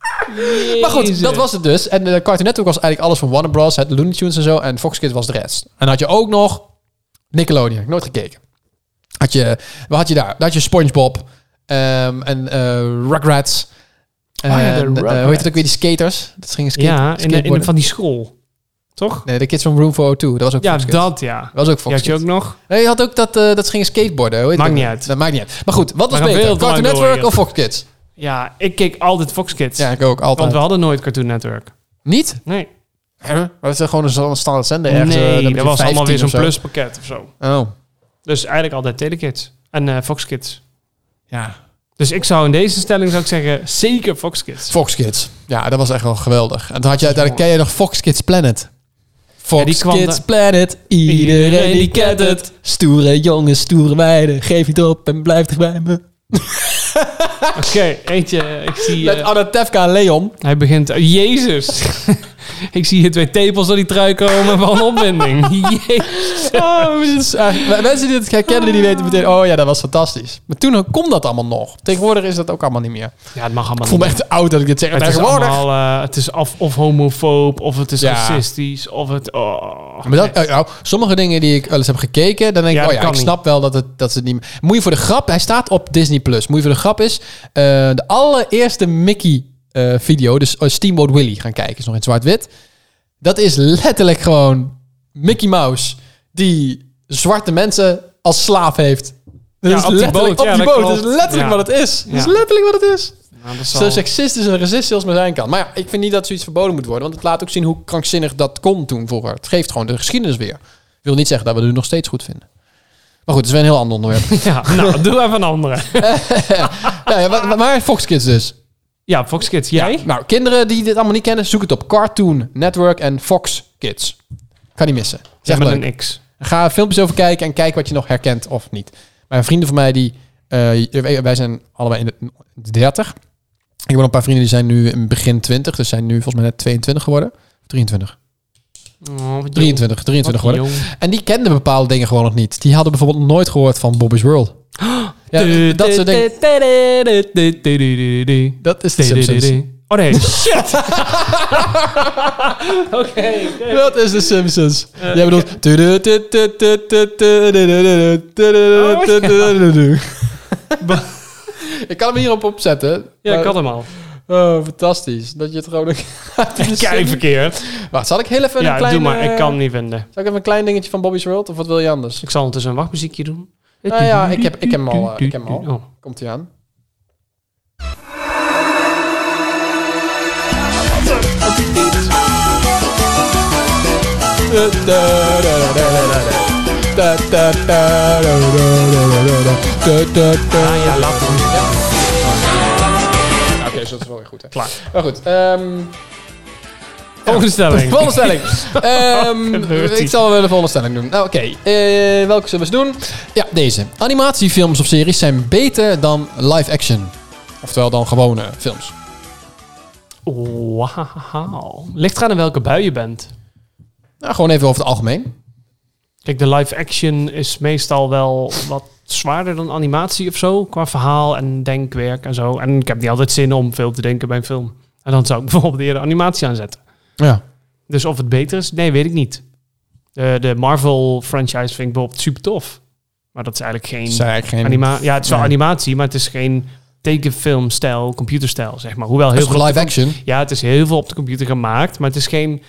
Speaker 1: Maar goed,
Speaker 2: Jezus.
Speaker 1: dat was het dus. En de Cartoon Network was eigenlijk alles van Warner Bros. Het Looney Tunes en zo. En Fox Kids was de rest. En dan had je ook nog Nickelodeon. Heb ik nooit gekeken. Had je, wat had je daar? Daar had je Spongebob. ehm, en eh Rugrats. En,
Speaker 2: Oh ja, de
Speaker 1: eh, hoe heet
Speaker 2: Rugrats.
Speaker 1: het ook weer? Die skaters. Dat gingen skate,
Speaker 2: Ja, in, de- in, de-
Speaker 1: skateboarden.
Speaker 2: van die school. Toch?
Speaker 1: Nee, de Kids from Room 402. Dat was ook
Speaker 2: Ja,
Speaker 1: Fox Kids.
Speaker 2: dat ja.
Speaker 1: Dat was ook
Speaker 2: Die
Speaker 1: Fox
Speaker 2: had je
Speaker 1: Kids.
Speaker 2: ook nog?
Speaker 1: Nee, je had ook dat, eh, dat ze gingen skateboarden. Hoe heet
Speaker 2: Maakt
Speaker 1: dat?
Speaker 2: niet uit.
Speaker 1: Dat maakt niet uit. Maar goed, wat was
Speaker 2: gaan
Speaker 1: beter?
Speaker 2: veel te
Speaker 1: Cartoon
Speaker 2: lang door
Speaker 1: Network
Speaker 2: hier.
Speaker 1: of Fox Kids?
Speaker 2: Ja, ik keek altijd Fox Kids.
Speaker 1: Ja, ik ook. Altijd.
Speaker 2: want we hadden nooit Cartoon Network.
Speaker 1: Niet?
Speaker 2: Nee,
Speaker 1: Maar dat is gewoon een zo- een standaard zender ergens. eh, dan moet
Speaker 2: nee dat
Speaker 1: je
Speaker 2: was
Speaker 1: 15
Speaker 2: allemaal weer zo'n
Speaker 1: of zo.
Speaker 2: pluspakket of zo.
Speaker 1: Oh,
Speaker 2: Dus eigenlijk altijd Telekids en eh, Fox Kids.
Speaker 1: ja.
Speaker 2: Dus ik zou in deze stelling zou ik zeggen, zeker Fox Kids.
Speaker 1: Fox Kids. Ja, dat was echt wel geweldig. En toen had je uiteindelijk, ken je nog Fox Kids Planet?
Speaker 2: Ja, die
Speaker 1: Fox
Speaker 2: kwam
Speaker 1: Kids
Speaker 2: da-
Speaker 1: Planet, iedereen die
Speaker 2: Iedereen
Speaker 1: kent
Speaker 2: kent
Speaker 1: het. Stoere jongens, stoere meiden, geef niet op en blijf dicht bij me.
Speaker 2: Oké, eentje. Ik zie...
Speaker 1: Met
Speaker 2: eh,
Speaker 1: Anna Tefka en Leon.
Speaker 2: hij begint... oh, Jezus! ik zie hier twee tepels door die trui komen van opwinding. Jezus.
Speaker 1: Oh, dit is echt- mensen die het herkennen, die weten meteen, oh ja, dat was fantastisch. Maar toen kon dat allemaal nog. Tegenwoordig is dat ook allemaal niet meer.
Speaker 2: Ja, het mag allemaal
Speaker 1: Ik voel me
Speaker 2: niet.
Speaker 1: echt oud dat ik dit zeg.
Speaker 2: Het is
Speaker 1: Tegenwoordig.
Speaker 2: allemaal... eh, het is of, of homofoob, of het is
Speaker 1: Ja.
Speaker 2: racistisch, of het... Oh,
Speaker 1: Maar dat, nou, sommige dingen die ik wel eens heb gekeken, dan denk
Speaker 2: Ja,
Speaker 1: ik, oh
Speaker 2: dat
Speaker 1: ja, ik
Speaker 2: kan niet.
Speaker 1: snap wel dat het, dat ze het niet... Moet je voor de grap, hij staat op Disney+. Plus. Moet je voor de grap is, eh, de allereerste Mickey eh, video, dus eh, Steamboat Willie gaan kijken, is nog in zwart-wit. Dat is letterlijk gewoon Mickey Mouse, die zwarte mensen als slaaf heeft. Dat
Speaker 2: Ja,
Speaker 1: is
Speaker 2: op die
Speaker 1: letterlijk-
Speaker 2: boot.
Speaker 1: Op
Speaker 2: Ja,
Speaker 1: die
Speaker 2: dat
Speaker 1: boot, dat is
Speaker 2: klopt.
Speaker 1: letterlijk
Speaker 2: Ja.
Speaker 1: wat het is. Dat is
Speaker 2: Ja.
Speaker 1: letterlijk wat het is.
Speaker 2: Nou, dat
Speaker 1: Zo
Speaker 2: zal-
Speaker 1: seksistisch en racistisch als maar zijn kan. Maar ja, ik vind niet dat zoiets verboden moet worden. Want het laat ook zien hoe krankzinnig dat kon toen vroeger. Het geeft gewoon de geschiedenis weer. wil niet zeggen dat we het nu nog steeds goed vinden. Maar goed, het is weer een heel ander onderwerp.
Speaker 2: Ja, nou, doe even een andere.
Speaker 1: ja, ja, maar, maar Fox Kids dus.
Speaker 2: Ja, Fox Kids, jij?
Speaker 1: Ja, nou, kinderen die dit allemaal niet kennen, zoek het op Cartoon Network en Fox Kids. Kan niet missen.
Speaker 2: Zeg
Speaker 1: Zeg
Speaker 2: maar
Speaker 1: leuk.
Speaker 2: een X.
Speaker 1: Ga filmpjes over kijken en kijk wat je nog herkent of niet. Mijn vrienden van mij, die, eh, wij zijn allebei in de 30. Ik heb nog een paar vrienden die zijn nu in begin 20. Dus zijn nu volgens mij net 22 geworden. 23.
Speaker 2: Oh,
Speaker 1: 23,
Speaker 2: wat jong.
Speaker 1: 23
Speaker 2: Wat
Speaker 1: geworden.
Speaker 2: jong.
Speaker 1: En die kenden bepaalde dingen gewoon nog niet. Die hadden bijvoorbeeld nooit gehoord van Bobby's World. Ja, dat soort dingen. Dat is de Simpsons.
Speaker 2: Oh nee, shit! Oké.
Speaker 1: Dat is de Simpsons. Jij bedoelt...
Speaker 2: Oh,
Speaker 1: Ik kan hem hierop opzetten.
Speaker 2: Ja, ik
Speaker 1: maar-
Speaker 2: had hem al.
Speaker 1: Oh, fantastisch. Dat je het gewoon ook... uit de
Speaker 2: Kei
Speaker 1: Simpsons-
Speaker 2: verkeerd.
Speaker 1: Wacht, zal ik heel even een
Speaker 2: Ja,
Speaker 1: klein...
Speaker 2: doe maar.
Speaker 1: eh,
Speaker 2: Ik kan hem niet vinden.
Speaker 1: Zal ik even een klein dingetje van Bobby's World? Of wat wil je anders?
Speaker 2: Ik zal ondertussen een wachtmuziekje doen.
Speaker 1: Nou ja, ik heb, ik heb hem al. eh, ik heb hem al.
Speaker 2: Oh.
Speaker 1: Komt hij aan.
Speaker 2: Ah, Ah ja, laat hem.
Speaker 1: Oké, zo is het wel weer goed. Hè.
Speaker 2: Klaar.
Speaker 1: Maar goed. ehm,
Speaker 2: Volgende stelling.
Speaker 1: Volgende stelling. Ehm,
Speaker 2: Gebeurt-ie.
Speaker 1: ik zal wel de volgende stelling doen. Nou, Oké, Eh, welke zullen we eens doen? Ja, deze. Animatiefilms of series zijn beter dan live action. Oftewel dan gewone films.
Speaker 2: Wauw. Ligt eraan in welke bui je bent.
Speaker 1: Nou, gewoon even over het algemeen.
Speaker 2: Kijk, de live action is meestal wel wat zwaarder dan animatie of zo. Qua verhaal en denkwerk en zo. En ik heb niet altijd zin om veel te denken bij een film. En dan zou ik bijvoorbeeld eerder animatie aanzetten.
Speaker 1: Ja.
Speaker 2: Dus of het beter is, nee, weet ik niet. De, de Marvel franchise vind ik bijvoorbeeld super tof. Maar dat is eigenlijk geen...
Speaker 1: Is eigenlijk geen...
Speaker 2: Anima ja, het is wel
Speaker 1: Nee.
Speaker 2: animatie, maar het is geen tekenfilmstijl, computerstijl, zeg maar. Hoewel
Speaker 1: Het
Speaker 2: heel
Speaker 1: is
Speaker 2: veel...
Speaker 1: toch live action?
Speaker 2: Ja, het is heel veel op de computer gemaakt, maar het is geen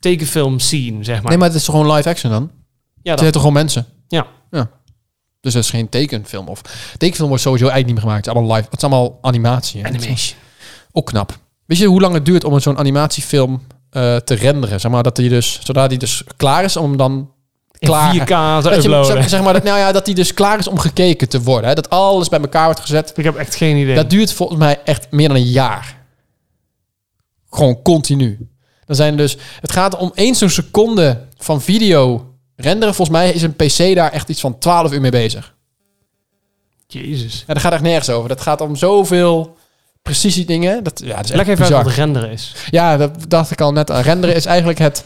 Speaker 2: tekenfilm scene, zeg maar.
Speaker 1: Nee, maar het is toch gewoon live action dan?
Speaker 2: ja,
Speaker 1: Het
Speaker 2: dat,
Speaker 1: zijn toch gewoon mensen?
Speaker 2: Ja.
Speaker 1: ja. Dus dat is geen tekenfilm. Of tekenfilm wordt sowieso eigenlijk niet meer gemaakt. Het is allemaal live. Het is allemaal animatie. hè.
Speaker 2: animation.
Speaker 1: Ook knap. Weet je hoe lang het duurt om zo'n animatiefilm eh, te renderen? Zeg maar dat die dus, zodra die dus klaar is om dan
Speaker 2: In
Speaker 1: Klaar.
Speaker 2: 4K te
Speaker 1: dat je,
Speaker 2: uploaden.
Speaker 1: zeg, zeg maar dat, nou ja, dat die dus klaar is om gekeken te worden. Hè? Dat alles bij elkaar wordt gezet.
Speaker 2: Ik heb echt geen idee.
Speaker 1: Dat duurt volgens mij echt meer dan een jaar. Gewoon continu. Dan zijn er dus, het gaat om eens zo'n seconde van video renderen. Volgens mij is een PC daar echt iets van 12 uur mee bezig.
Speaker 2: Jezus.
Speaker 1: Ja, dat gaat echt nergens over. Dat gaat om zoveel precisie dingen. Dat, ja, dat is echt
Speaker 2: Leg even
Speaker 1: bizar.
Speaker 2: uit wat renderen is.
Speaker 1: Ja, dat dacht ik al net aan. Renderen is eigenlijk het,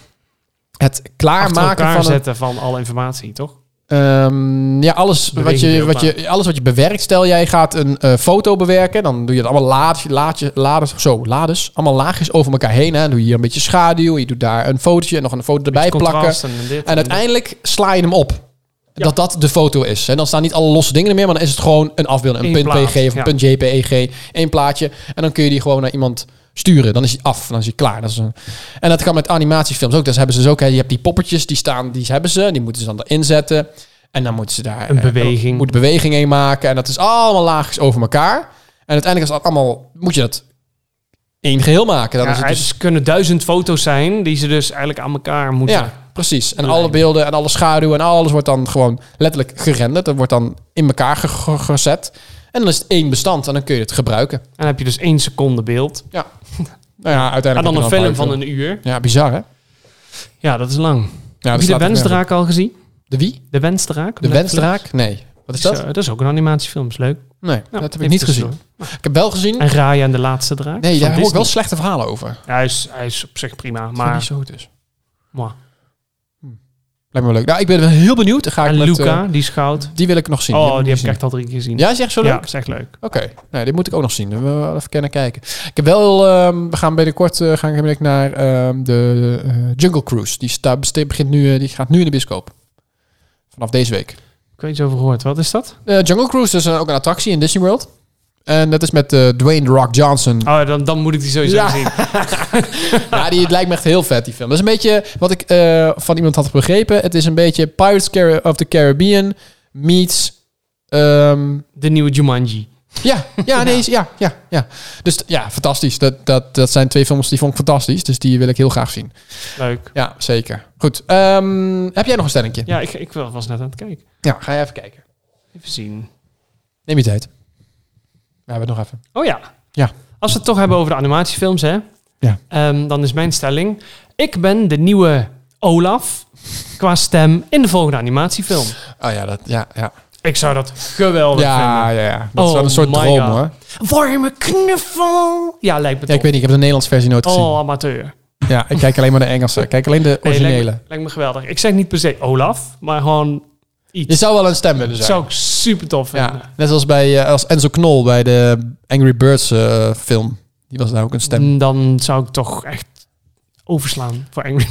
Speaker 1: het
Speaker 2: Achter
Speaker 1: klaarmaken
Speaker 2: elkaar
Speaker 1: van een-
Speaker 2: zetten van alle informatie, toch?
Speaker 1: Ehm, ja, alles wat, je,
Speaker 2: Beweging
Speaker 1: wat je, alles wat je bewerkt. Stel, jij gaat een eh, foto bewerken. Dan doe je het allemaal laadje, laadje, laders, zo, lades. Allemaal laagjes over elkaar heen. Hè. Dan doe je hier een beetje schaduw. Je doet daar een fotootje en nog een foto erbij plakken.
Speaker 2: Contrast en dit en dit.
Speaker 1: En uiteindelijk sla je hem op.
Speaker 2: Ja.
Speaker 1: Dat dat de foto is. En dan staan niet alle losse dingen er meer, maar dan is het gewoon een afbeelding. Een
Speaker 2: Eén
Speaker 1: punt .pg
Speaker 2: plaat,
Speaker 1: of een
Speaker 2: ja.
Speaker 1: punt .jpeg. één plaatje. En dan kun je die gewoon naar iemand sturen. Dan is hij af. Dan is hij klaar. Dat is een... En dat kan met animatiefilms ook. Dat hebben ze dus ook. Hè. Je hebt die poppetjes, die staan, die hebben ze. Die moeten ze dan erin zetten. En dan moeten ze daar...
Speaker 2: Een
Speaker 1: eh,
Speaker 2: beweging.
Speaker 1: Moet beweging in maken. En dat is allemaal laagjes over elkaar. En uiteindelijk is dat allemaal... Moet je dat één geheel maken. Dan
Speaker 2: Ja,
Speaker 1: is het
Speaker 2: het
Speaker 1: dus-
Speaker 2: kunnen duizend foto's zijn die ze dus eigenlijk aan elkaar moeten.
Speaker 1: ja, precies. En
Speaker 2: Lijn.
Speaker 1: alle beelden en alle schaduw en alles wordt dan gewoon letterlijk gerenderd. Dat wordt dan in elkaar ge- ge- gezet. En dan is het één bestand en dan kun je het gebruiken.
Speaker 2: En dan heb je dus één seconde beeld.
Speaker 1: Nou ja,
Speaker 2: En
Speaker 1: uiteindelijk...
Speaker 2: dan
Speaker 1: heb
Speaker 2: een
Speaker 1: je
Speaker 2: film van
Speaker 1: paar
Speaker 2: een uur.
Speaker 1: uur. Ja, bizar hè? Ja,
Speaker 2: Ja, dat is lang.
Speaker 1: dat
Speaker 2: heb je de
Speaker 1: slaat nergens
Speaker 2: Wensdraak al gezien?
Speaker 1: op. De wie?
Speaker 2: De Wensdraak? op
Speaker 1: De
Speaker 2: Netflix?
Speaker 1: Wensdraak? Nee. Wat is
Speaker 2: Zo,
Speaker 1: dat?
Speaker 2: dat is ook een animatiefilm, is leuk.
Speaker 1: Nee,
Speaker 2: Ja,
Speaker 1: dat heb ik
Speaker 2: even
Speaker 1: niet
Speaker 2: tussendoor.
Speaker 1: gezien. Ik heb wel gezien...
Speaker 2: En Raya en de laatste draak.
Speaker 1: Nee,
Speaker 2: van
Speaker 1: daar hoor ik
Speaker 2: Disney.
Speaker 1: wel slechte verhalen over.
Speaker 2: Ja, hij, is, hij is op zich prima,
Speaker 1: Maar... Niet
Speaker 2: maar...
Speaker 1: zo goed is.
Speaker 2: Mwah.
Speaker 1: Lijkt me wel leuk. Nou, ik ben wel heel benieuwd. Dan Ga ik
Speaker 2: En
Speaker 1: met,
Speaker 2: Luca,
Speaker 1: eh,
Speaker 2: die is goud.
Speaker 1: die wil ik nog zien.
Speaker 2: Oh, die heb ik
Speaker 1: gezien.
Speaker 2: echt al drie keer gezien.
Speaker 1: Ja, is die echt zo leuk?
Speaker 2: Ja, is echt leuk.
Speaker 1: Oké, nou, dit moet ik ook nog zien. We moeten wel even kennen kijken. Ik heb wel, ehm, we gaan binnenkort eh, gaan we naar ehm, de eh, Jungle Cruise. Die, sta, beste- begint nu, eh, die gaat nu in de bioscoop. Vanaf deze week.
Speaker 2: Ik weet niet over gehoord. Wat is dat?
Speaker 1: Eh, Jungle Cruise is een- ook een attractie in Disney World. En dat is met eh, Dwayne The Rock Johnson.
Speaker 2: Oh, dan, dan moet ik die sowieso
Speaker 1: Ja.
Speaker 2: zien.
Speaker 1: Ja, die het lijkt me echt heel vet, die film. Dat is een beetje wat ik eh, van iemand had begrepen. Het is een beetje Pirates Car- of the Caribbean meets... ehm,
Speaker 2: De nieuwe Jumanji.
Speaker 1: Ja, ja, nee, is- ja, ja, ja. Dus t- ja, fantastisch. Dat, dat, dat zijn twee films die vond ik fantastisch. Dus die wil ik heel graag zien.
Speaker 2: Leuk.
Speaker 1: Ja, zeker. Goed. Ehm, heb jij nog een stellingje?
Speaker 2: Ja, ik, ik was net aan het kijken.
Speaker 1: Ja, ga je even kijken.
Speaker 2: Even zien.
Speaker 1: Neem je tijd. We hebben het nog even.
Speaker 2: Oh ja.
Speaker 1: Ja.
Speaker 2: Als we het toch hebben over de animatiefilms, hè?
Speaker 1: Ja.
Speaker 2: Ehm, dan is mijn stelling: ik ben de nieuwe Olaf qua stem in de volgende animatiefilm.
Speaker 1: Oh ja, dat, ja, ja.
Speaker 2: Ik zou dat geweldig
Speaker 1: Ja,
Speaker 2: vinden.
Speaker 1: ja, ja. Dat is
Speaker 2: Oh
Speaker 1: wel een soort
Speaker 2: my
Speaker 1: droom,
Speaker 2: God.
Speaker 1: hoor.
Speaker 2: Warme knuffel. Ja, lijkt me
Speaker 1: Ja, ik weet
Speaker 2: top.
Speaker 1: niet. Ik heb de Nederlands versie nooit gezien.
Speaker 2: oh, amateur.
Speaker 1: Ja, ik kijk alleen maar de Engelse. Ik kijk alleen de
Speaker 2: Nee,
Speaker 1: originele.
Speaker 2: lijkt, me, lijkt me geweldig. Ik zeg niet per se Olaf, maar gewoon
Speaker 1: Je
Speaker 2: iets.
Speaker 1: zou wel een stem willen
Speaker 2: Dat
Speaker 1: zijn.
Speaker 2: zou ik super tof vinden.
Speaker 1: Ja, net als bij eh, als Enzo Knol bij de Angry Birds eh, film. Die was daar ook een stem.
Speaker 2: Mm, Dan zou ik toch echt overslaan voor Angry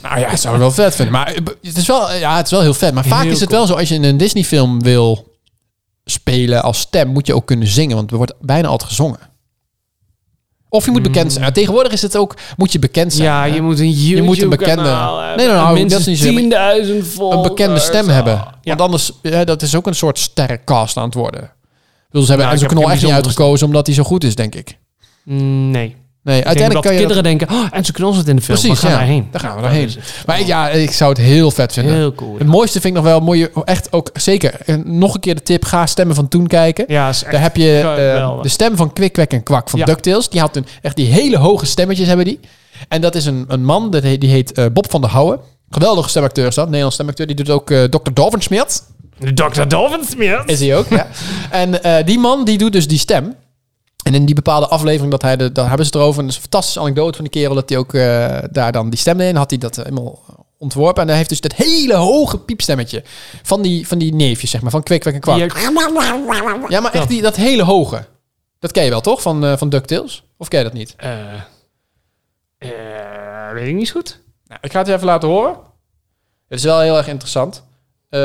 Speaker 1: Nou ja, zou ik wel vet vinden. Maar eh, het is wel, ja, het is wel heel vet. Maar vaak
Speaker 2: Heel
Speaker 1: is het
Speaker 2: cool.
Speaker 1: wel zo, als je in een Disney-film wil spelen als stem, moet je ook kunnen zingen. Want er wordt bijna altijd gezongen. Of je moet bekend zijn. Nou, tegenwoordig is het ook, moet je bekend zijn.
Speaker 2: Mm. Ja,
Speaker 1: hè?
Speaker 2: je moet een YouTube
Speaker 1: moet een bekende-
Speaker 2: kanaal hebben.
Speaker 1: Nee, nou, nou,
Speaker 2: Minstens
Speaker 1: dat is niet zo-
Speaker 2: 10.000 volgers.
Speaker 1: een bekende stem hebben.
Speaker 2: eh, Ja.
Speaker 1: Want anders, ja, dat is ook een soort sterrencast aan het worden. Ik bedoel, ze hebben
Speaker 2: Nou,
Speaker 1: Enzo
Speaker 2: ik heb
Speaker 1: Knol
Speaker 2: geen
Speaker 1: echt niet
Speaker 2: bijzondere
Speaker 1: uitgekozen omdat hij zo goed is, denk ik.
Speaker 2: Mm, Nee.
Speaker 1: Nee,
Speaker 2: Ik denk dat
Speaker 1: uiteindelijk kan je dat-
Speaker 2: kinderen denken, oh, en ze knossen het in de film.
Speaker 1: Precies,
Speaker 2: we gaan
Speaker 1: ja.
Speaker 2: daarheen.
Speaker 1: Daar gaan we
Speaker 2: Dat
Speaker 1: daarheen.
Speaker 2: is het.
Speaker 1: Maar ik- ja, ik zou het heel vet vinden.
Speaker 2: Heel cool.
Speaker 1: Het mooiste vind ik nog wel, moet je echt ook zeker eh, nog een keer de tip, ga stemmen van toen kijken.
Speaker 2: Ja, is echt
Speaker 1: Daar heb je eh,
Speaker 2: geweldig.
Speaker 1: de stem van Kwik, Kwek en Kwak van
Speaker 2: Ja.
Speaker 1: DuckTales. Die had een, echt die hele hoge stemmetjes hebben die. En dat is een, een man, dat he- die heet eh, Bob van der Houwen. Geweldige stemacteur is dat, Nederlands stemacteur. Die doet ook eh Dr. Dovenschmidt.
Speaker 2: Dr. Dolphins
Speaker 1: Is hij ook, ja. En eh, die man, die doet dus die stem. En in die bepaalde aflevering, dat hij de, daar hebben ze het erover. En dat is een fantastische anekdote van die kerel. Dat hij ook eh, daar dan die stem in had. Hij dat eh, helemaal ontworpen. En hij heeft dus dat hele hoge piepstemmetje. Van die, van die neefjes, zeg maar. Van kwek, kwek en kwak. Ja, maar echt die, dat hele hoge. Dat ken je wel, toch? Van, eh van DuckTales? Of ken je dat niet?
Speaker 2: Eh, eh, weet ik niet zo goed.
Speaker 1: Nou, ik ga het je even laten horen. Het is wel heel erg interessant. Eh,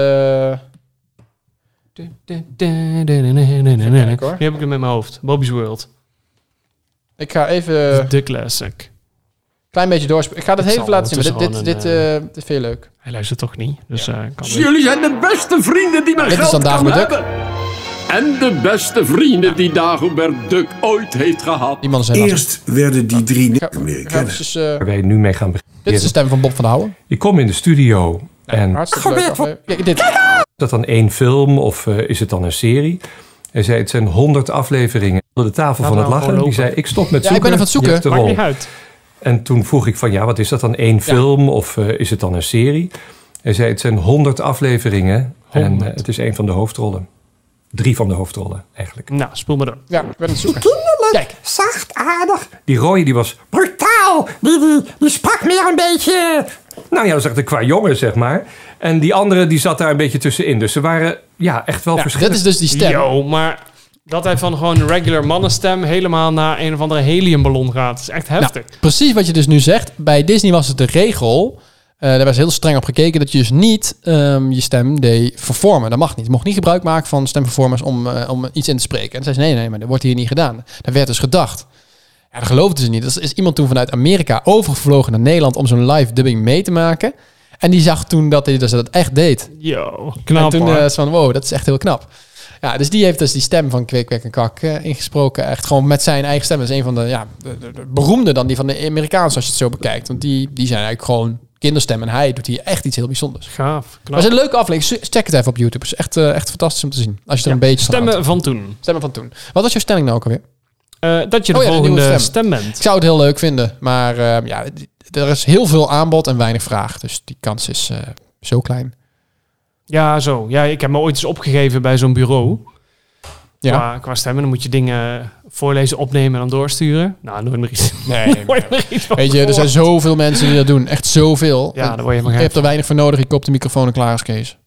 Speaker 2: Nu heb
Speaker 1: hoor.
Speaker 2: ik hem in mijn hoofd. Bobby's World.
Speaker 1: ik ga even een
Speaker 2: De classic.
Speaker 1: klein beetje doorspelen. Ik ga dat
Speaker 2: Ik
Speaker 1: heel even
Speaker 2: zal
Speaker 1: laten zien. maar Dit,
Speaker 2: ondertussen
Speaker 1: dit, dit,
Speaker 2: gewoon
Speaker 1: eh, dit vind je leuk.
Speaker 2: Hij luistert toch niet. Dus eh, kan niet.
Speaker 3: Jullie zijn de beste vrienden die mijn
Speaker 1: Dit is
Speaker 3: geld
Speaker 1: dan
Speaker 3: kan
Speaker 1: Dagobert Duck.
Speaker 3: hebben. En de beste vrienden die Dagobert Duck ooit heeft gehad.
Speaker 1: Die man is helemaal...
Speaker 4: Eerst werden die drie
Speaker 1: Ik ga-
Speaker 4: niet meer
Speaker 1: ik ga
Speaker 4: kennen.
Speaker 1: eventjes, eh,
Speaker 5: waar wij nu mee gaan
Speaker 1: dit is de
Speaker 5: beginnen.
Speaker 1: stem van Bob van der Houwen.
Speaker 5: Ik kom in de studio en
Speaker 1: Hartstikke leuk. aflevering. Kijk, dit.
Speaker 5: is dat dan één film of eh, is het dan een serie? Hij zei, het zijn honderd afleveringen. Onder de tafel
Speaker 2: Laat
Speaker 5: van het
Speaker 2: nou
Speaker 5: lachen.
Speaker 2: gewoon
Speaker 5: Die
Speaker 2: lopen.
Speaker 5: zei, ik stop met
Speaker 1: Ja,
Speaker 5: zoeken.
Speaker 1: ik ben even aan het zoeken.
Speaker 5: je hebt de
Speaker 2: Maakt
Speaker 5: rol.
Speaker 2: niet uit.
Speaker 5: En toen vroeg ik van, ja, wat is dat dan één film of eh, is het dan een serie? Hij zei, het zijn honderd afleveringen. En eh,
Speaker 2: Honderd.
Speaker 5: het is één van de hoofdrollen. Drie van de hoofdrollen, eigenlijk.
Speaker 2: Nou, spoel maar door.
Speaker 1: Ja, ik ben aan het zoeken.
Speaker 5: Kijk. Zachtaardig. Die rode die was brutaal. Die, die, die sprak meer een beetje... Nou ja, dat zegt de qua jongen, zeg maar. En die andere die zat daar een beetje tussenin. Dus ze waren ja, echt wel
Speaker 1: Dit
Speaker 5: verschillend.
Speaker 1: is dus die stem.
Speaker 2: Yo, maar dat hij van gewoon een regular mannenstem helemaal naar een of andere heliumballon gaat. is echt heftig.
Speaker 1: Nou, precies wat je dus nu zegt. Bij Disney was het de regel. eh, daar was heel streng op gekeken dat je dus niet ehm, je stem deed vervormen. Dat mag niet. Je mocht niet gebruik maken van stemvervormers om, eh, om iets in te spreken. En toen zei ze, nee, nee, maar dat wordt hier niet gedaan. Daar werd dus gedacht. Ja, dat geloofden ze niet. Dat is iemand toen vanuit Amerika overgevlogen naar Nederland om zo'n live dubbing mee te maken. En die zag toen dat hij dus dat echt deed.
Speaker 2: Yo, knap
Speaker 1: en toen
Speaker 2: hoor.
Speaker 1: eh, is van, wow, dat is echt heel knap. Ja, dus die heeft dus die stem van Kwik, Kwek en Kwak eh, ingesproken. Echt gewoon met zijn eigen stem. Dat is een van de, ja, de, de- de beroemde dan die van de Amerikaans, als je het zo bekijkt. Want die, die zijn eigenlijk gewoon kinderstem. En hij doet hier echt iets heel bijzonders.
Speaker 2: Gaaf, knap.
Speaker 1: Maar het is een leuke aflevering. Check het even op YouTube. Het is echt, eh, echt fantastisch om te zien. Als je er
Speaker 2: Ja,
Speaker 1: een beetje van
Speaker 2: Stemmen
Speaker 1: houdt.
Speaker 2: van toen.
Speaker 1: Stemmen van toen. Wat was jouw stelling nou ook alweer?
Speaker 2: Eh, dat je de
Speaker 1: Oh ja, de nieuwe
Speaker 2: volgende stem.
Speaker 1: stem.
Speaker 2: bent.
Speaker 1: Ik zou het heel leuk vinden. Maar eh, ja, d- er is heel veel aanbod en weinig vraag. Dus die kans is eh, zo klein.
Speaker 2: Ja, zo. Ja, ik heb me ooit eens opgegeven bij zo'n bureau.
Speaker 1: Ja.
Speaker 2: Qua, qua stemmen. Dan moet je dingen voorlezen, opnemen en dan doorsturen. Nou, nooit meer iets.
Speaker 1: Nee,
Speaker 2: nooit meer iets van
Speaker 1: Weet je, er zijn
Speaker 2: gehoord.
Speaker 1: zoveel mensen die dat doen. Echt zoveel.
Speaker 2: Ja, daar word je helemaal
Speaker 1: Je
Speaker 2: gek
Speaker 1: hebt er weinig voor nodig. Ik koop de microfoon en klaar is Kees.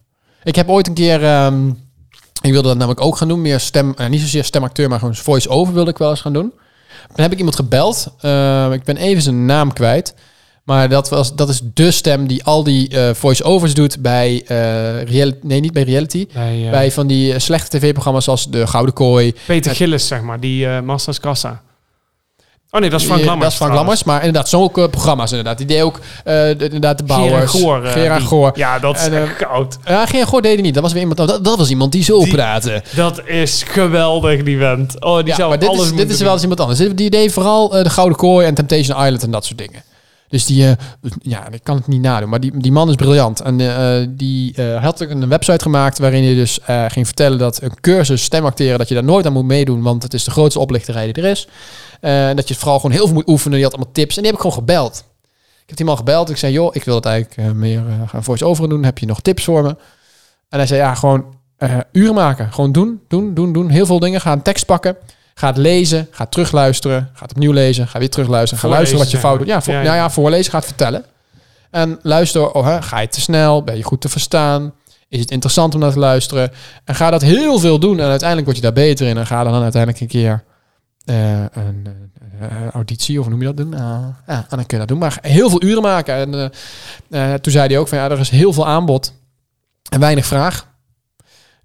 Speaker 1: Ik heb ooit een keer... ehm, ik wilde dat namelijk ook gaan doen. Meer stem... eh, niet zozeer stemacteur, maar gewoon voice-over wilde ik wel eens gaan doen. Dan heb ik iemand gebeld. Ehm, ik ben even zijn naam kwijt. Maar dat, was, dat is de stem die al die eh, voice-overs doet bij... eh reality, nee, niet bij reality.
Speaker 2: Bij, eh,
Speaker 1: Bij van die eh, slechte tv-programma's als De Gouden Kooi.
Speaker 2: Peter Gillis, zeg maar. Die eh Masters Kassa. Oh nee, dat is Frank
Speaker 1: Eh,
Speaker 2: Lammers.
Speaker 1: Dat is Frank
Speaker 2: trouwens.
Speaker 1: Lammers. Maar inderdaad, zo'n programma's inderdaad. Die deed ook eh, de- inderdaad de bouwers.
Speaker 2: Gerard Goor. eh,
Speaker 1: Gerard
Speaker 2: die.
Speaker 1: Goor.
Speaker 2: Ja, dat is
Speaker 1: En, eh,
Speaker 2: echt koud.
Speaker 1: Ja, geen Goor deed hij niet. Dat was weer iemand. Dat, dat was iemand die zo praatte.
Speaker 2: Dat is geweldig, die vent. Oh, die
Speaker 1: Ja,
Speaker 2: zou
Speaker 1: maar dit
Speaker 2: alles
Speaker 1: is,
Speaker 2: moeten
Speaker 1: dit is wel eens iemand anders. Die die deed vooral eh, de Gouden Kooi en Temptation Island en dat soort dingen. Dus die, eh, ja, ik kan het niet nadoen. Maar die, die man is briljant. En eh, eh, die eh, had ook een website gemaakt waarin hij dus eh, ging vertellen dat een cursus stemacteren, dat je daar nooit aan moet meedoen, want het is de grootste oplichterij die er is. Eh, en dat je vooral gewoon heel veel moet oefenen. Die had allemaal tips. En die heb ik gewoon gebeld. Ik heb die man gebeld. Ik zei, joh, ik wil het eigenlijk eh, meer eh, gaan voice-over doen. Heb je nog tips voor me? En hij zei, ja, gewoon eh, uren maken. Gewoon doen, doen, doen, doen. Heel veel dingen. Ga een tekst pakken. Ga het lezen. Ga het terugluisteren. Ga het opnieuw lezen. Ga weer terugluisteren. Ga
Speaker 2: Voorlezen,
Speaker 1: luisteren wat je
Speaker 2: zeg
Speaker 1: fout
Speaker 2: maar.
Speaker 1: doet. Ja, voor,
Speaker 2: Ja,
Speaker 1: Nou
Speaker 2: ja.
Speaker 1: ja, voorlezen. Ga het vertellen. En luister, oh, hè, ga je te snel? Ben je goed te verstaan? Is het interessant om naar te luisteren? En ga dat heel veel doen. En uiteindelijk word je daar beter in. En ga dan uiteindelijk een keer eh, een eh, auditie, of hoe noem je dat doen? Ah, ja, dan kun je dat doen. Maar heel veel uren maken. En eh, eh, toen zei hij ook van ja, er is heel veel aanbod en weinig vraag.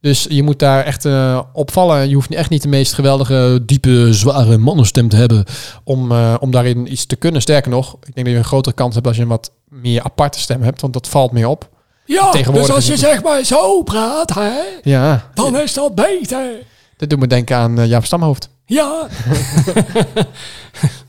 Speaker 1: Dus je moet daar echt eh, opvallen. Je hoeft echt niet de meest geweldige, diepe, zware mannenstem te hebben om, eh, om daarin iets te kunnen. Sterker nog, ik denk dat je een grotere kans hebt als je een wat meer aparte stem hebt, want dat valt meer op.
Speaker 3: Ja,
Speaker 1: Tegenwoordig dus als is het je
Speaker 3: zeg maar zo praat, hè,
Speaker 1: Ja,
Speaker 3: dan is dat beter.
Speaker 1: dit doet me denken aan eh, Jaap Stamhoofd.
Speaker 3: Ja,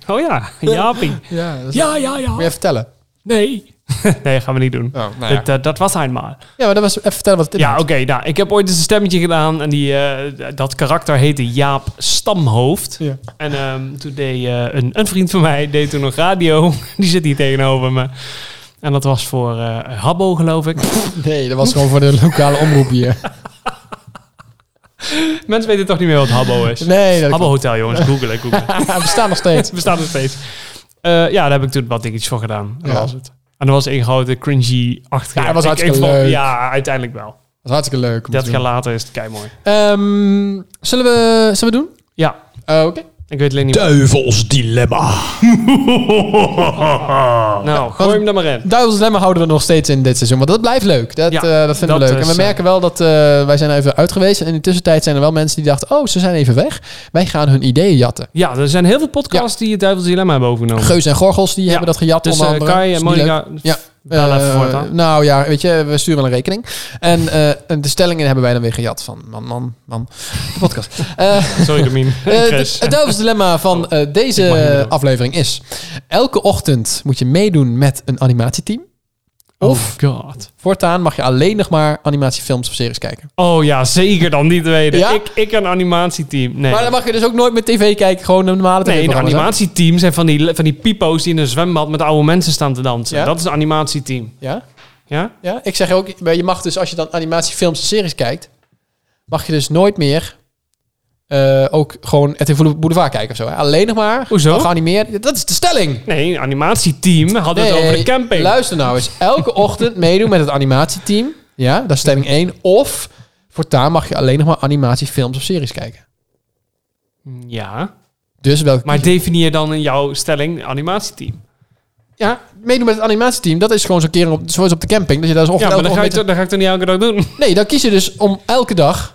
Speaker 2: Oh ja, Jaapie.
Speaker 1: Ja, dat is-
Speaker 2: Ja, ja,
Speaker 1: Moet je
Speaker 2: ja.
Speaker 1: even vertellen?
Speaker 2: Nee. nee, gaan we niet doen. Dat, dat, dat was hij maar.
Speaker 1: Ja, maar dat was even vertellen wat het
Speaker 2: Ja,
Speaker 1: inhoudt.
Speaker 2: oké. nou, ik heb ooit eens een stemmetje gedaan en die, eh, dat karakter heette Jaap Stamhoofd.
Speaker 1: Ja.
Speaker 2: En ehm, toen deed eh, een, een vriend van mij, deed toen nog radio. Die zit hier tegenover me. En dat was voor eh, Habbo, geloof ik.
Speaker 1: Nee, dat was gewoon voor de lokale omroep hier.
Speaker 2: Mensen weten toch niet meer wat Habbo is?
Speaker 1: Nee, dat
Speaker 2: Habbo Hotel, jongens. Google het, Google het.
Speaker 1: we staan nog steeds.
Speaker 2: Het bestaat nog steeds. Eh, ja, daar heb ik toen wat dingetjes voor gedaan. En
Speaker 1: Ja.
Speaker 2: dat was het. En dat was één grote cringy achter.
Speaker 1: Ja, dat was hartstikke leuk.
Speaker 2: Ja, uiteindelijk wel.
Speaker 1: Dat is hartstikke leuk. om te
Speaker 2: 30 jaar
Speaker 1: doen.
Speaker 2: later is het keimooi.
Speaker 1: Ehm, zullen, we, zullen we doen?
Speaker 2: Ja,
Speaker 1: Eh, Oké.
Speaker 2: ik weet alleen niet... nou, gooi hem er maar in.
Speaker 1: Duivels Dilemma houden we nog steeds in dit seizoen. Want dat blijft leuk. Dat,
Speaker 2: Ja,
Speaker 1: eh, dat vinden we
Speaker 2: dat
Speaker 1: leuk. En we
Speaker 2: is, eh,
Speaker 1: merken wel dat eh, wij zijn er even uit geweest. En in de tussentijd zijn er wel mensen die dachten... Oh, ze zijn even weg. Wij gaan hun ideeën jatten.
Speaker 2: Ja, er zijn heel veel podcasts die het Duivels Dilemma hebben overgenomen.
Speaker 1: Geus en Gorgels, die hebben dat gejat
Speaker 2: dus,
Speaker 1: onder
Speaker 2: eh,
Speaker 1: andere.
Speaker 2: Kai
Speaker 1: Is
Speaker 2: en
Speaker 1: niet leuk.
Speaker 2: Monica...
Speaker 1: Ja.
Speaker 2: Bel even
Speaker 1: Eh,
Speaker 2: voort dan.
Speaker 1: nou ja, weet je, we sturen wel een rekening. En eh, en de stellingen hebben wij dan weer gejat van man, man, man. De podcast. Eh,
Speaker 2: Sorry, Domien.
Speaker 1: Eh,
Speaker 2: Chris. Oh,
Speaker 1: d- het Duivels dilemma van eh,
Speaker 2: ik mag niet meer
Speaker 1: deze
Speaker 2: doen.
Speaker 1: aflevering is... Elke ochtend moet je meedoen met een animatieteam. Of
Speaker 2: Oh god.
Speaker 1: voortaan mag je alleen nog maar animatiefilms of series kijken.
Speaker 2: Oh ja, zeker dan niet weten.
Speaker 1: Ja?
Speaker 2: Ik, ik een animatieteam. Nee.
Speaker 1: Maar dan mag je dus ook nooit met tv kijken. Gewoon een normale tv
Speaker 2: Nee, een animatieteam zijn van die, van die pipo's die in een zwembad met oude mensen staan te dansen.
Speaker 1: Ja?
Speaker 2: Dat is een animatieteam.
Speaker 1: Ja?
Speaker 2: Ja?
Speaker 1: ja, ik zeg ook... maar Je mag dus als je dan animatiefilms en series kijkt... mag je dus nooit meer... eh, ook gewoon RTV Boulevard kijken of zo. hè. Alleen nog maar
Speaker 2: Hoezo?
Speaker 1: geanimeerd. Dat is de stelling.
Speaker 2: Nee, een animatieteam hadden het over de camping.
Speaker 1: Luister nou eens. Elke ochtend meedoen met het animatieteam. Ja, dat is stelling 1. Of voortaan mag je alleen nog maar animatiefilms of series kijken.
Speaker 2: Ja.
Speaker 1: Dus welke...
Speaker 2: Maar definieer dan in jouw stelling animatieteam.
Speaker 1: ja, meedoen met het animatieteam, dat is gewoon zo'n keer op, zoals op de camping. Dat je daar zo
Speaker 2: Ja,
Speaker 1: ochtend
Speaker 2: maar
Speaker 1: elke
Speaker 2: dan ga, je,
Speaker 1: ochtend
Speaker 2: toch- dan ga ik toch niet elke dag doen?
Speaker 1: met- Nee, dan kies je dus om elke dag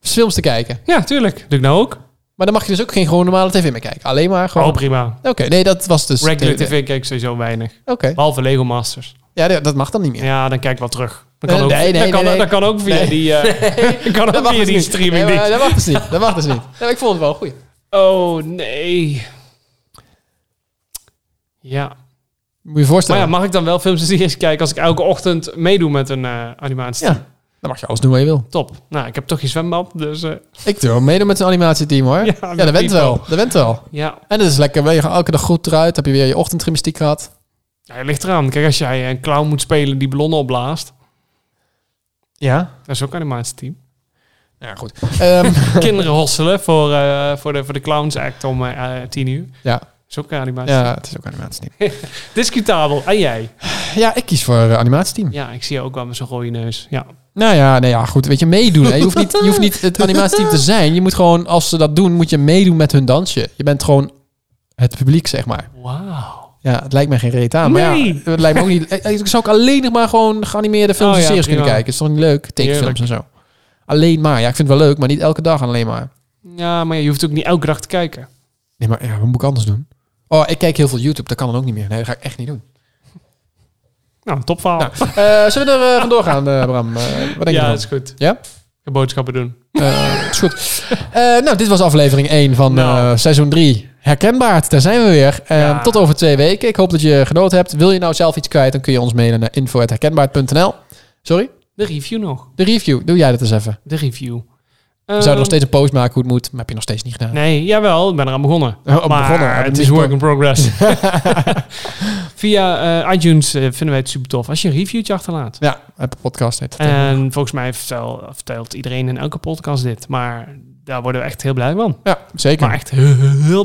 Speaker 1: films te kijken.
Speaker 2: Ja, tuurlijk. Doe ik nou ook?
Speaker 1: Maar dan mag je dus ook geen gewoon normale tv meer kijken. Alleen maar gewoon...
Speaker 2: Oh, prima.
Speaker 1: Oké, nee, dat was dus...
Speaker 2: Regular TV kijk ik sowieso weinig.
Speaker 1: Oké.
Speaker 2: Behalve Lego Masters.
Speaker 1: Ja, dat- dat mag dan niet meer.
Speaker 2: Ja, dan kijk ik wel terug. Dat kan
Speaker 1: Nee,
Speaker 2: ook,
Speaker 1: nee,
Speaker 2: dat
Speaker 1: nee,
Speaker 2: kan,
Speaker 1: nee.
Speaker 2: dat kan ook via
Speaker 1: Nee.
Speaker 2: die, eh, dat kan ook
Speaker 1: mag
Speaker 2: via
Speaker 1: dus
Speaker 2: die
Speaker 1: niet.
Speaker 2: streaming.
Speaker 1: Nee, maar
Speaker 2: dienst.
Speaker 1: dat mag dus niet. Dat mag dus niet. Nee, maar ik vond het wel goed.
Speaker 2: Oh, nee. Ja.
Speaker 1: Moet je je
Speaker 2: Maar
Speaker 1: voorstellen.
Speaker 2: ja, mag ik dan wel films en series kijken als ik elke ochtend meedoe met een eh animatie?
Speaker 1: Ja, dan mag je alles doen wat je wil.
Speaker 2: Top. Nou, ik heb toch geen zwembad, dus eh,
Speaker 1: Ik doe wel meedoen met een animatieteam hoor. Ja,
Speaker 2: Ja, met
Speaker 1: dat went
Speaker 2: Pipo.
Speaker 1: wel. Dat went wel.
Speaker 2: ja.
Speaker 1: En dat is lekker. wel, Je gaat elke dag goed eruit. Heb je weer je ochtendgymnastiek gehad.
Speaker 2: ja, het ligt eraan. Kijk, als jij een clown moet spelen die ballonnen opblaast,
Speaker 1: Ja.
Speaker 2: dat is ook een animatieteam.
Speaker 1: Ja, goed. Ehm,
Speaker 2: Kinderen hosselen voor, eh, voor, de, voor de Clowns Act om eh eh, tien uur. Dat
Speaker 1: ja.
Speaker 2: is ook een animatie.
Speaker 1: ja, het is ook een animatieteam.
Speaker 2: Discutabel. En jij?
Speaker 1: Ja, ik kies voor eh, animatieteam.
Speaker 2: Ja, ik zie je ook wel met zo'n rode neus. Ja.
Speaker 1: Nou ja, nee, ja, goed. Weet je, meedoen. Hè. Je, hoeft niet, je hoeft niet het animatieteam te zijn. Je moet gewoon, als ze dat doen, moet je meedoen met hun dansje. Je bent gewoon het publiek, zeg maar.
Speaker 2: Wauw.
Speaker 1: Ja, het lijkt mij geen reet aan. Maar ja,
Speaker 2: Nee.
Speaker 1: het lijkt me ook niet... Eh, Ik zou ook alleen nog maar gewoon geanimeerde films
Speaker 2: Oh
Speaker 1: en
Speaker 2: ja,
Speaker 1: series kunnen
Speaker 2: prima.
Speaker 1: kijken. Is toch niet leuk? Tekenfilms en zo. Alleen maar. Ja, ik vind het wel leuk, maar niet elke dag alleen maar.
Speaker 2: Ja, maar je hoeft ook niet elke dag te kijken.
Speaker 1: Nee, maar ja, wat moet ik anders doen? Oh, ik kijk heel veel YouTube. Dat kan dan ook niet meer. Nee, dat ga ik echt niet doen.
Speaker 2: Nou, topverhaal.
Speaker 1: Nou, eh, zullen we er eh, vandoor gaan, eh, Bram? Eh, wat denk je
Speaker 2: ja,
Speaker 1: ervan?
Speaker 2: dat is goed.
Speaker 1: Ja?
Speaker 2: Ik ga boodschappen doen.
Speaker 1: Eh, is goed. Eh, nou, dit was aflevering 1 van
Speaker 2: Nou.
Speaker 1: eh, seizoen 3. Herkenbaar, daar zijn we weer. Eh,
Speaker 2: Ja.
Speaker 1: Tot over twee weken. Ik hoop dat je genoten hebt. Wil je nou zelf iets kwijt, dan kun je ons mailen naar info.herkenbaar.nl. Sorry?
Speaker 2: De review nog.
Speaker 1: De review. Doe jij dat eens even.
Speaker 2: De review. Ehm,
Speaker 1: We zouden nog steeds een post maken hoe het moet, maar heb je nog steeds niet gedaan.
Speaker 2: Nee, jawel, ik ben eraan begonnen.
Speaker 1: Oh,
Speaker 2: maar
Speaker 1: begonnen, heb je
Speaker 2: het
Speaker 1: niet
Speaker 2: is work in progress. Via eh, iTunes eh, vinden wij het super tof als je een reviewtje achterlaat.
Speaker 1: Ja, Apple Podcast heet het.
Speaker 2: En volgens mij vertel- vertelt iedereen in elke podcast dit. Maar daar worden we echt heel blij van.
Speaker 1: ja, zeker.
Speaker 2: Maar echt heel blij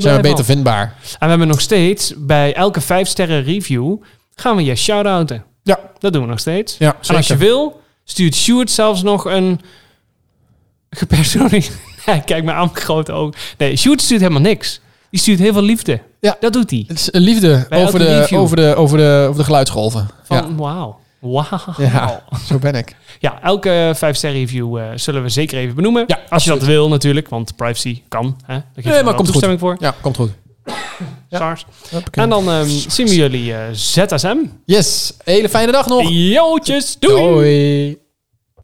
Speaker 1: zijn we
Speaker 2: van.
Speaker 1: beter vindbaar.
Speaker 2: En we hebben nog steeds, bij elke vijf sterren review, gaan we je shout-outen.
Speaker 1: Ja.
Speaker 2: Dat doen we nog steeds.
Speaker 1: Ja,
Speaker 2: en als je wil, stuurt Stuart zelfs nog een gepersonaliseerd... Nee, Kijk maar aan, met grote ogen. Nee, Stuart stuurt helemaal niks. Die stuurt heel veel liefde.
Speaker 1: Ja.
Speaker 2: Dat doet hij.
Speaker 1: Het is een liefde
Speaker 2: Bij
Speaker 1: over
Speaker 2: elke
Speaker 1: de,
Speaker 2: review.
Speaker 1: over, de, over, de, over de geluidsgolven.
Speaker 2: Van
Speaker 1: ja.
Speaker 2: wauw. Wauw.
Speaker 1: ja, zo ben ik.
Speaker 2: Ja, elke 5-ster review eh, zullen we zeker even benoemen.
Speaker 1: Ja,
Speaker 2: Als je dat wil natuurlijk, want privacy kan. Hè? Daar geven
Speaker 1: maar
Speaker 2: we wel
Speaker 1: komt goed.
Speaker 2: toestemming voor.
Speaker 1: Ja, komt goed. Ja.
Speaker 2: Stars. En dan ehm, zien we jullie eh, ZSM.
Speaker 1: Yes, hele fijne dag nog.
Speaker 2: Jootjes, doei!
Speaker 1: Doei.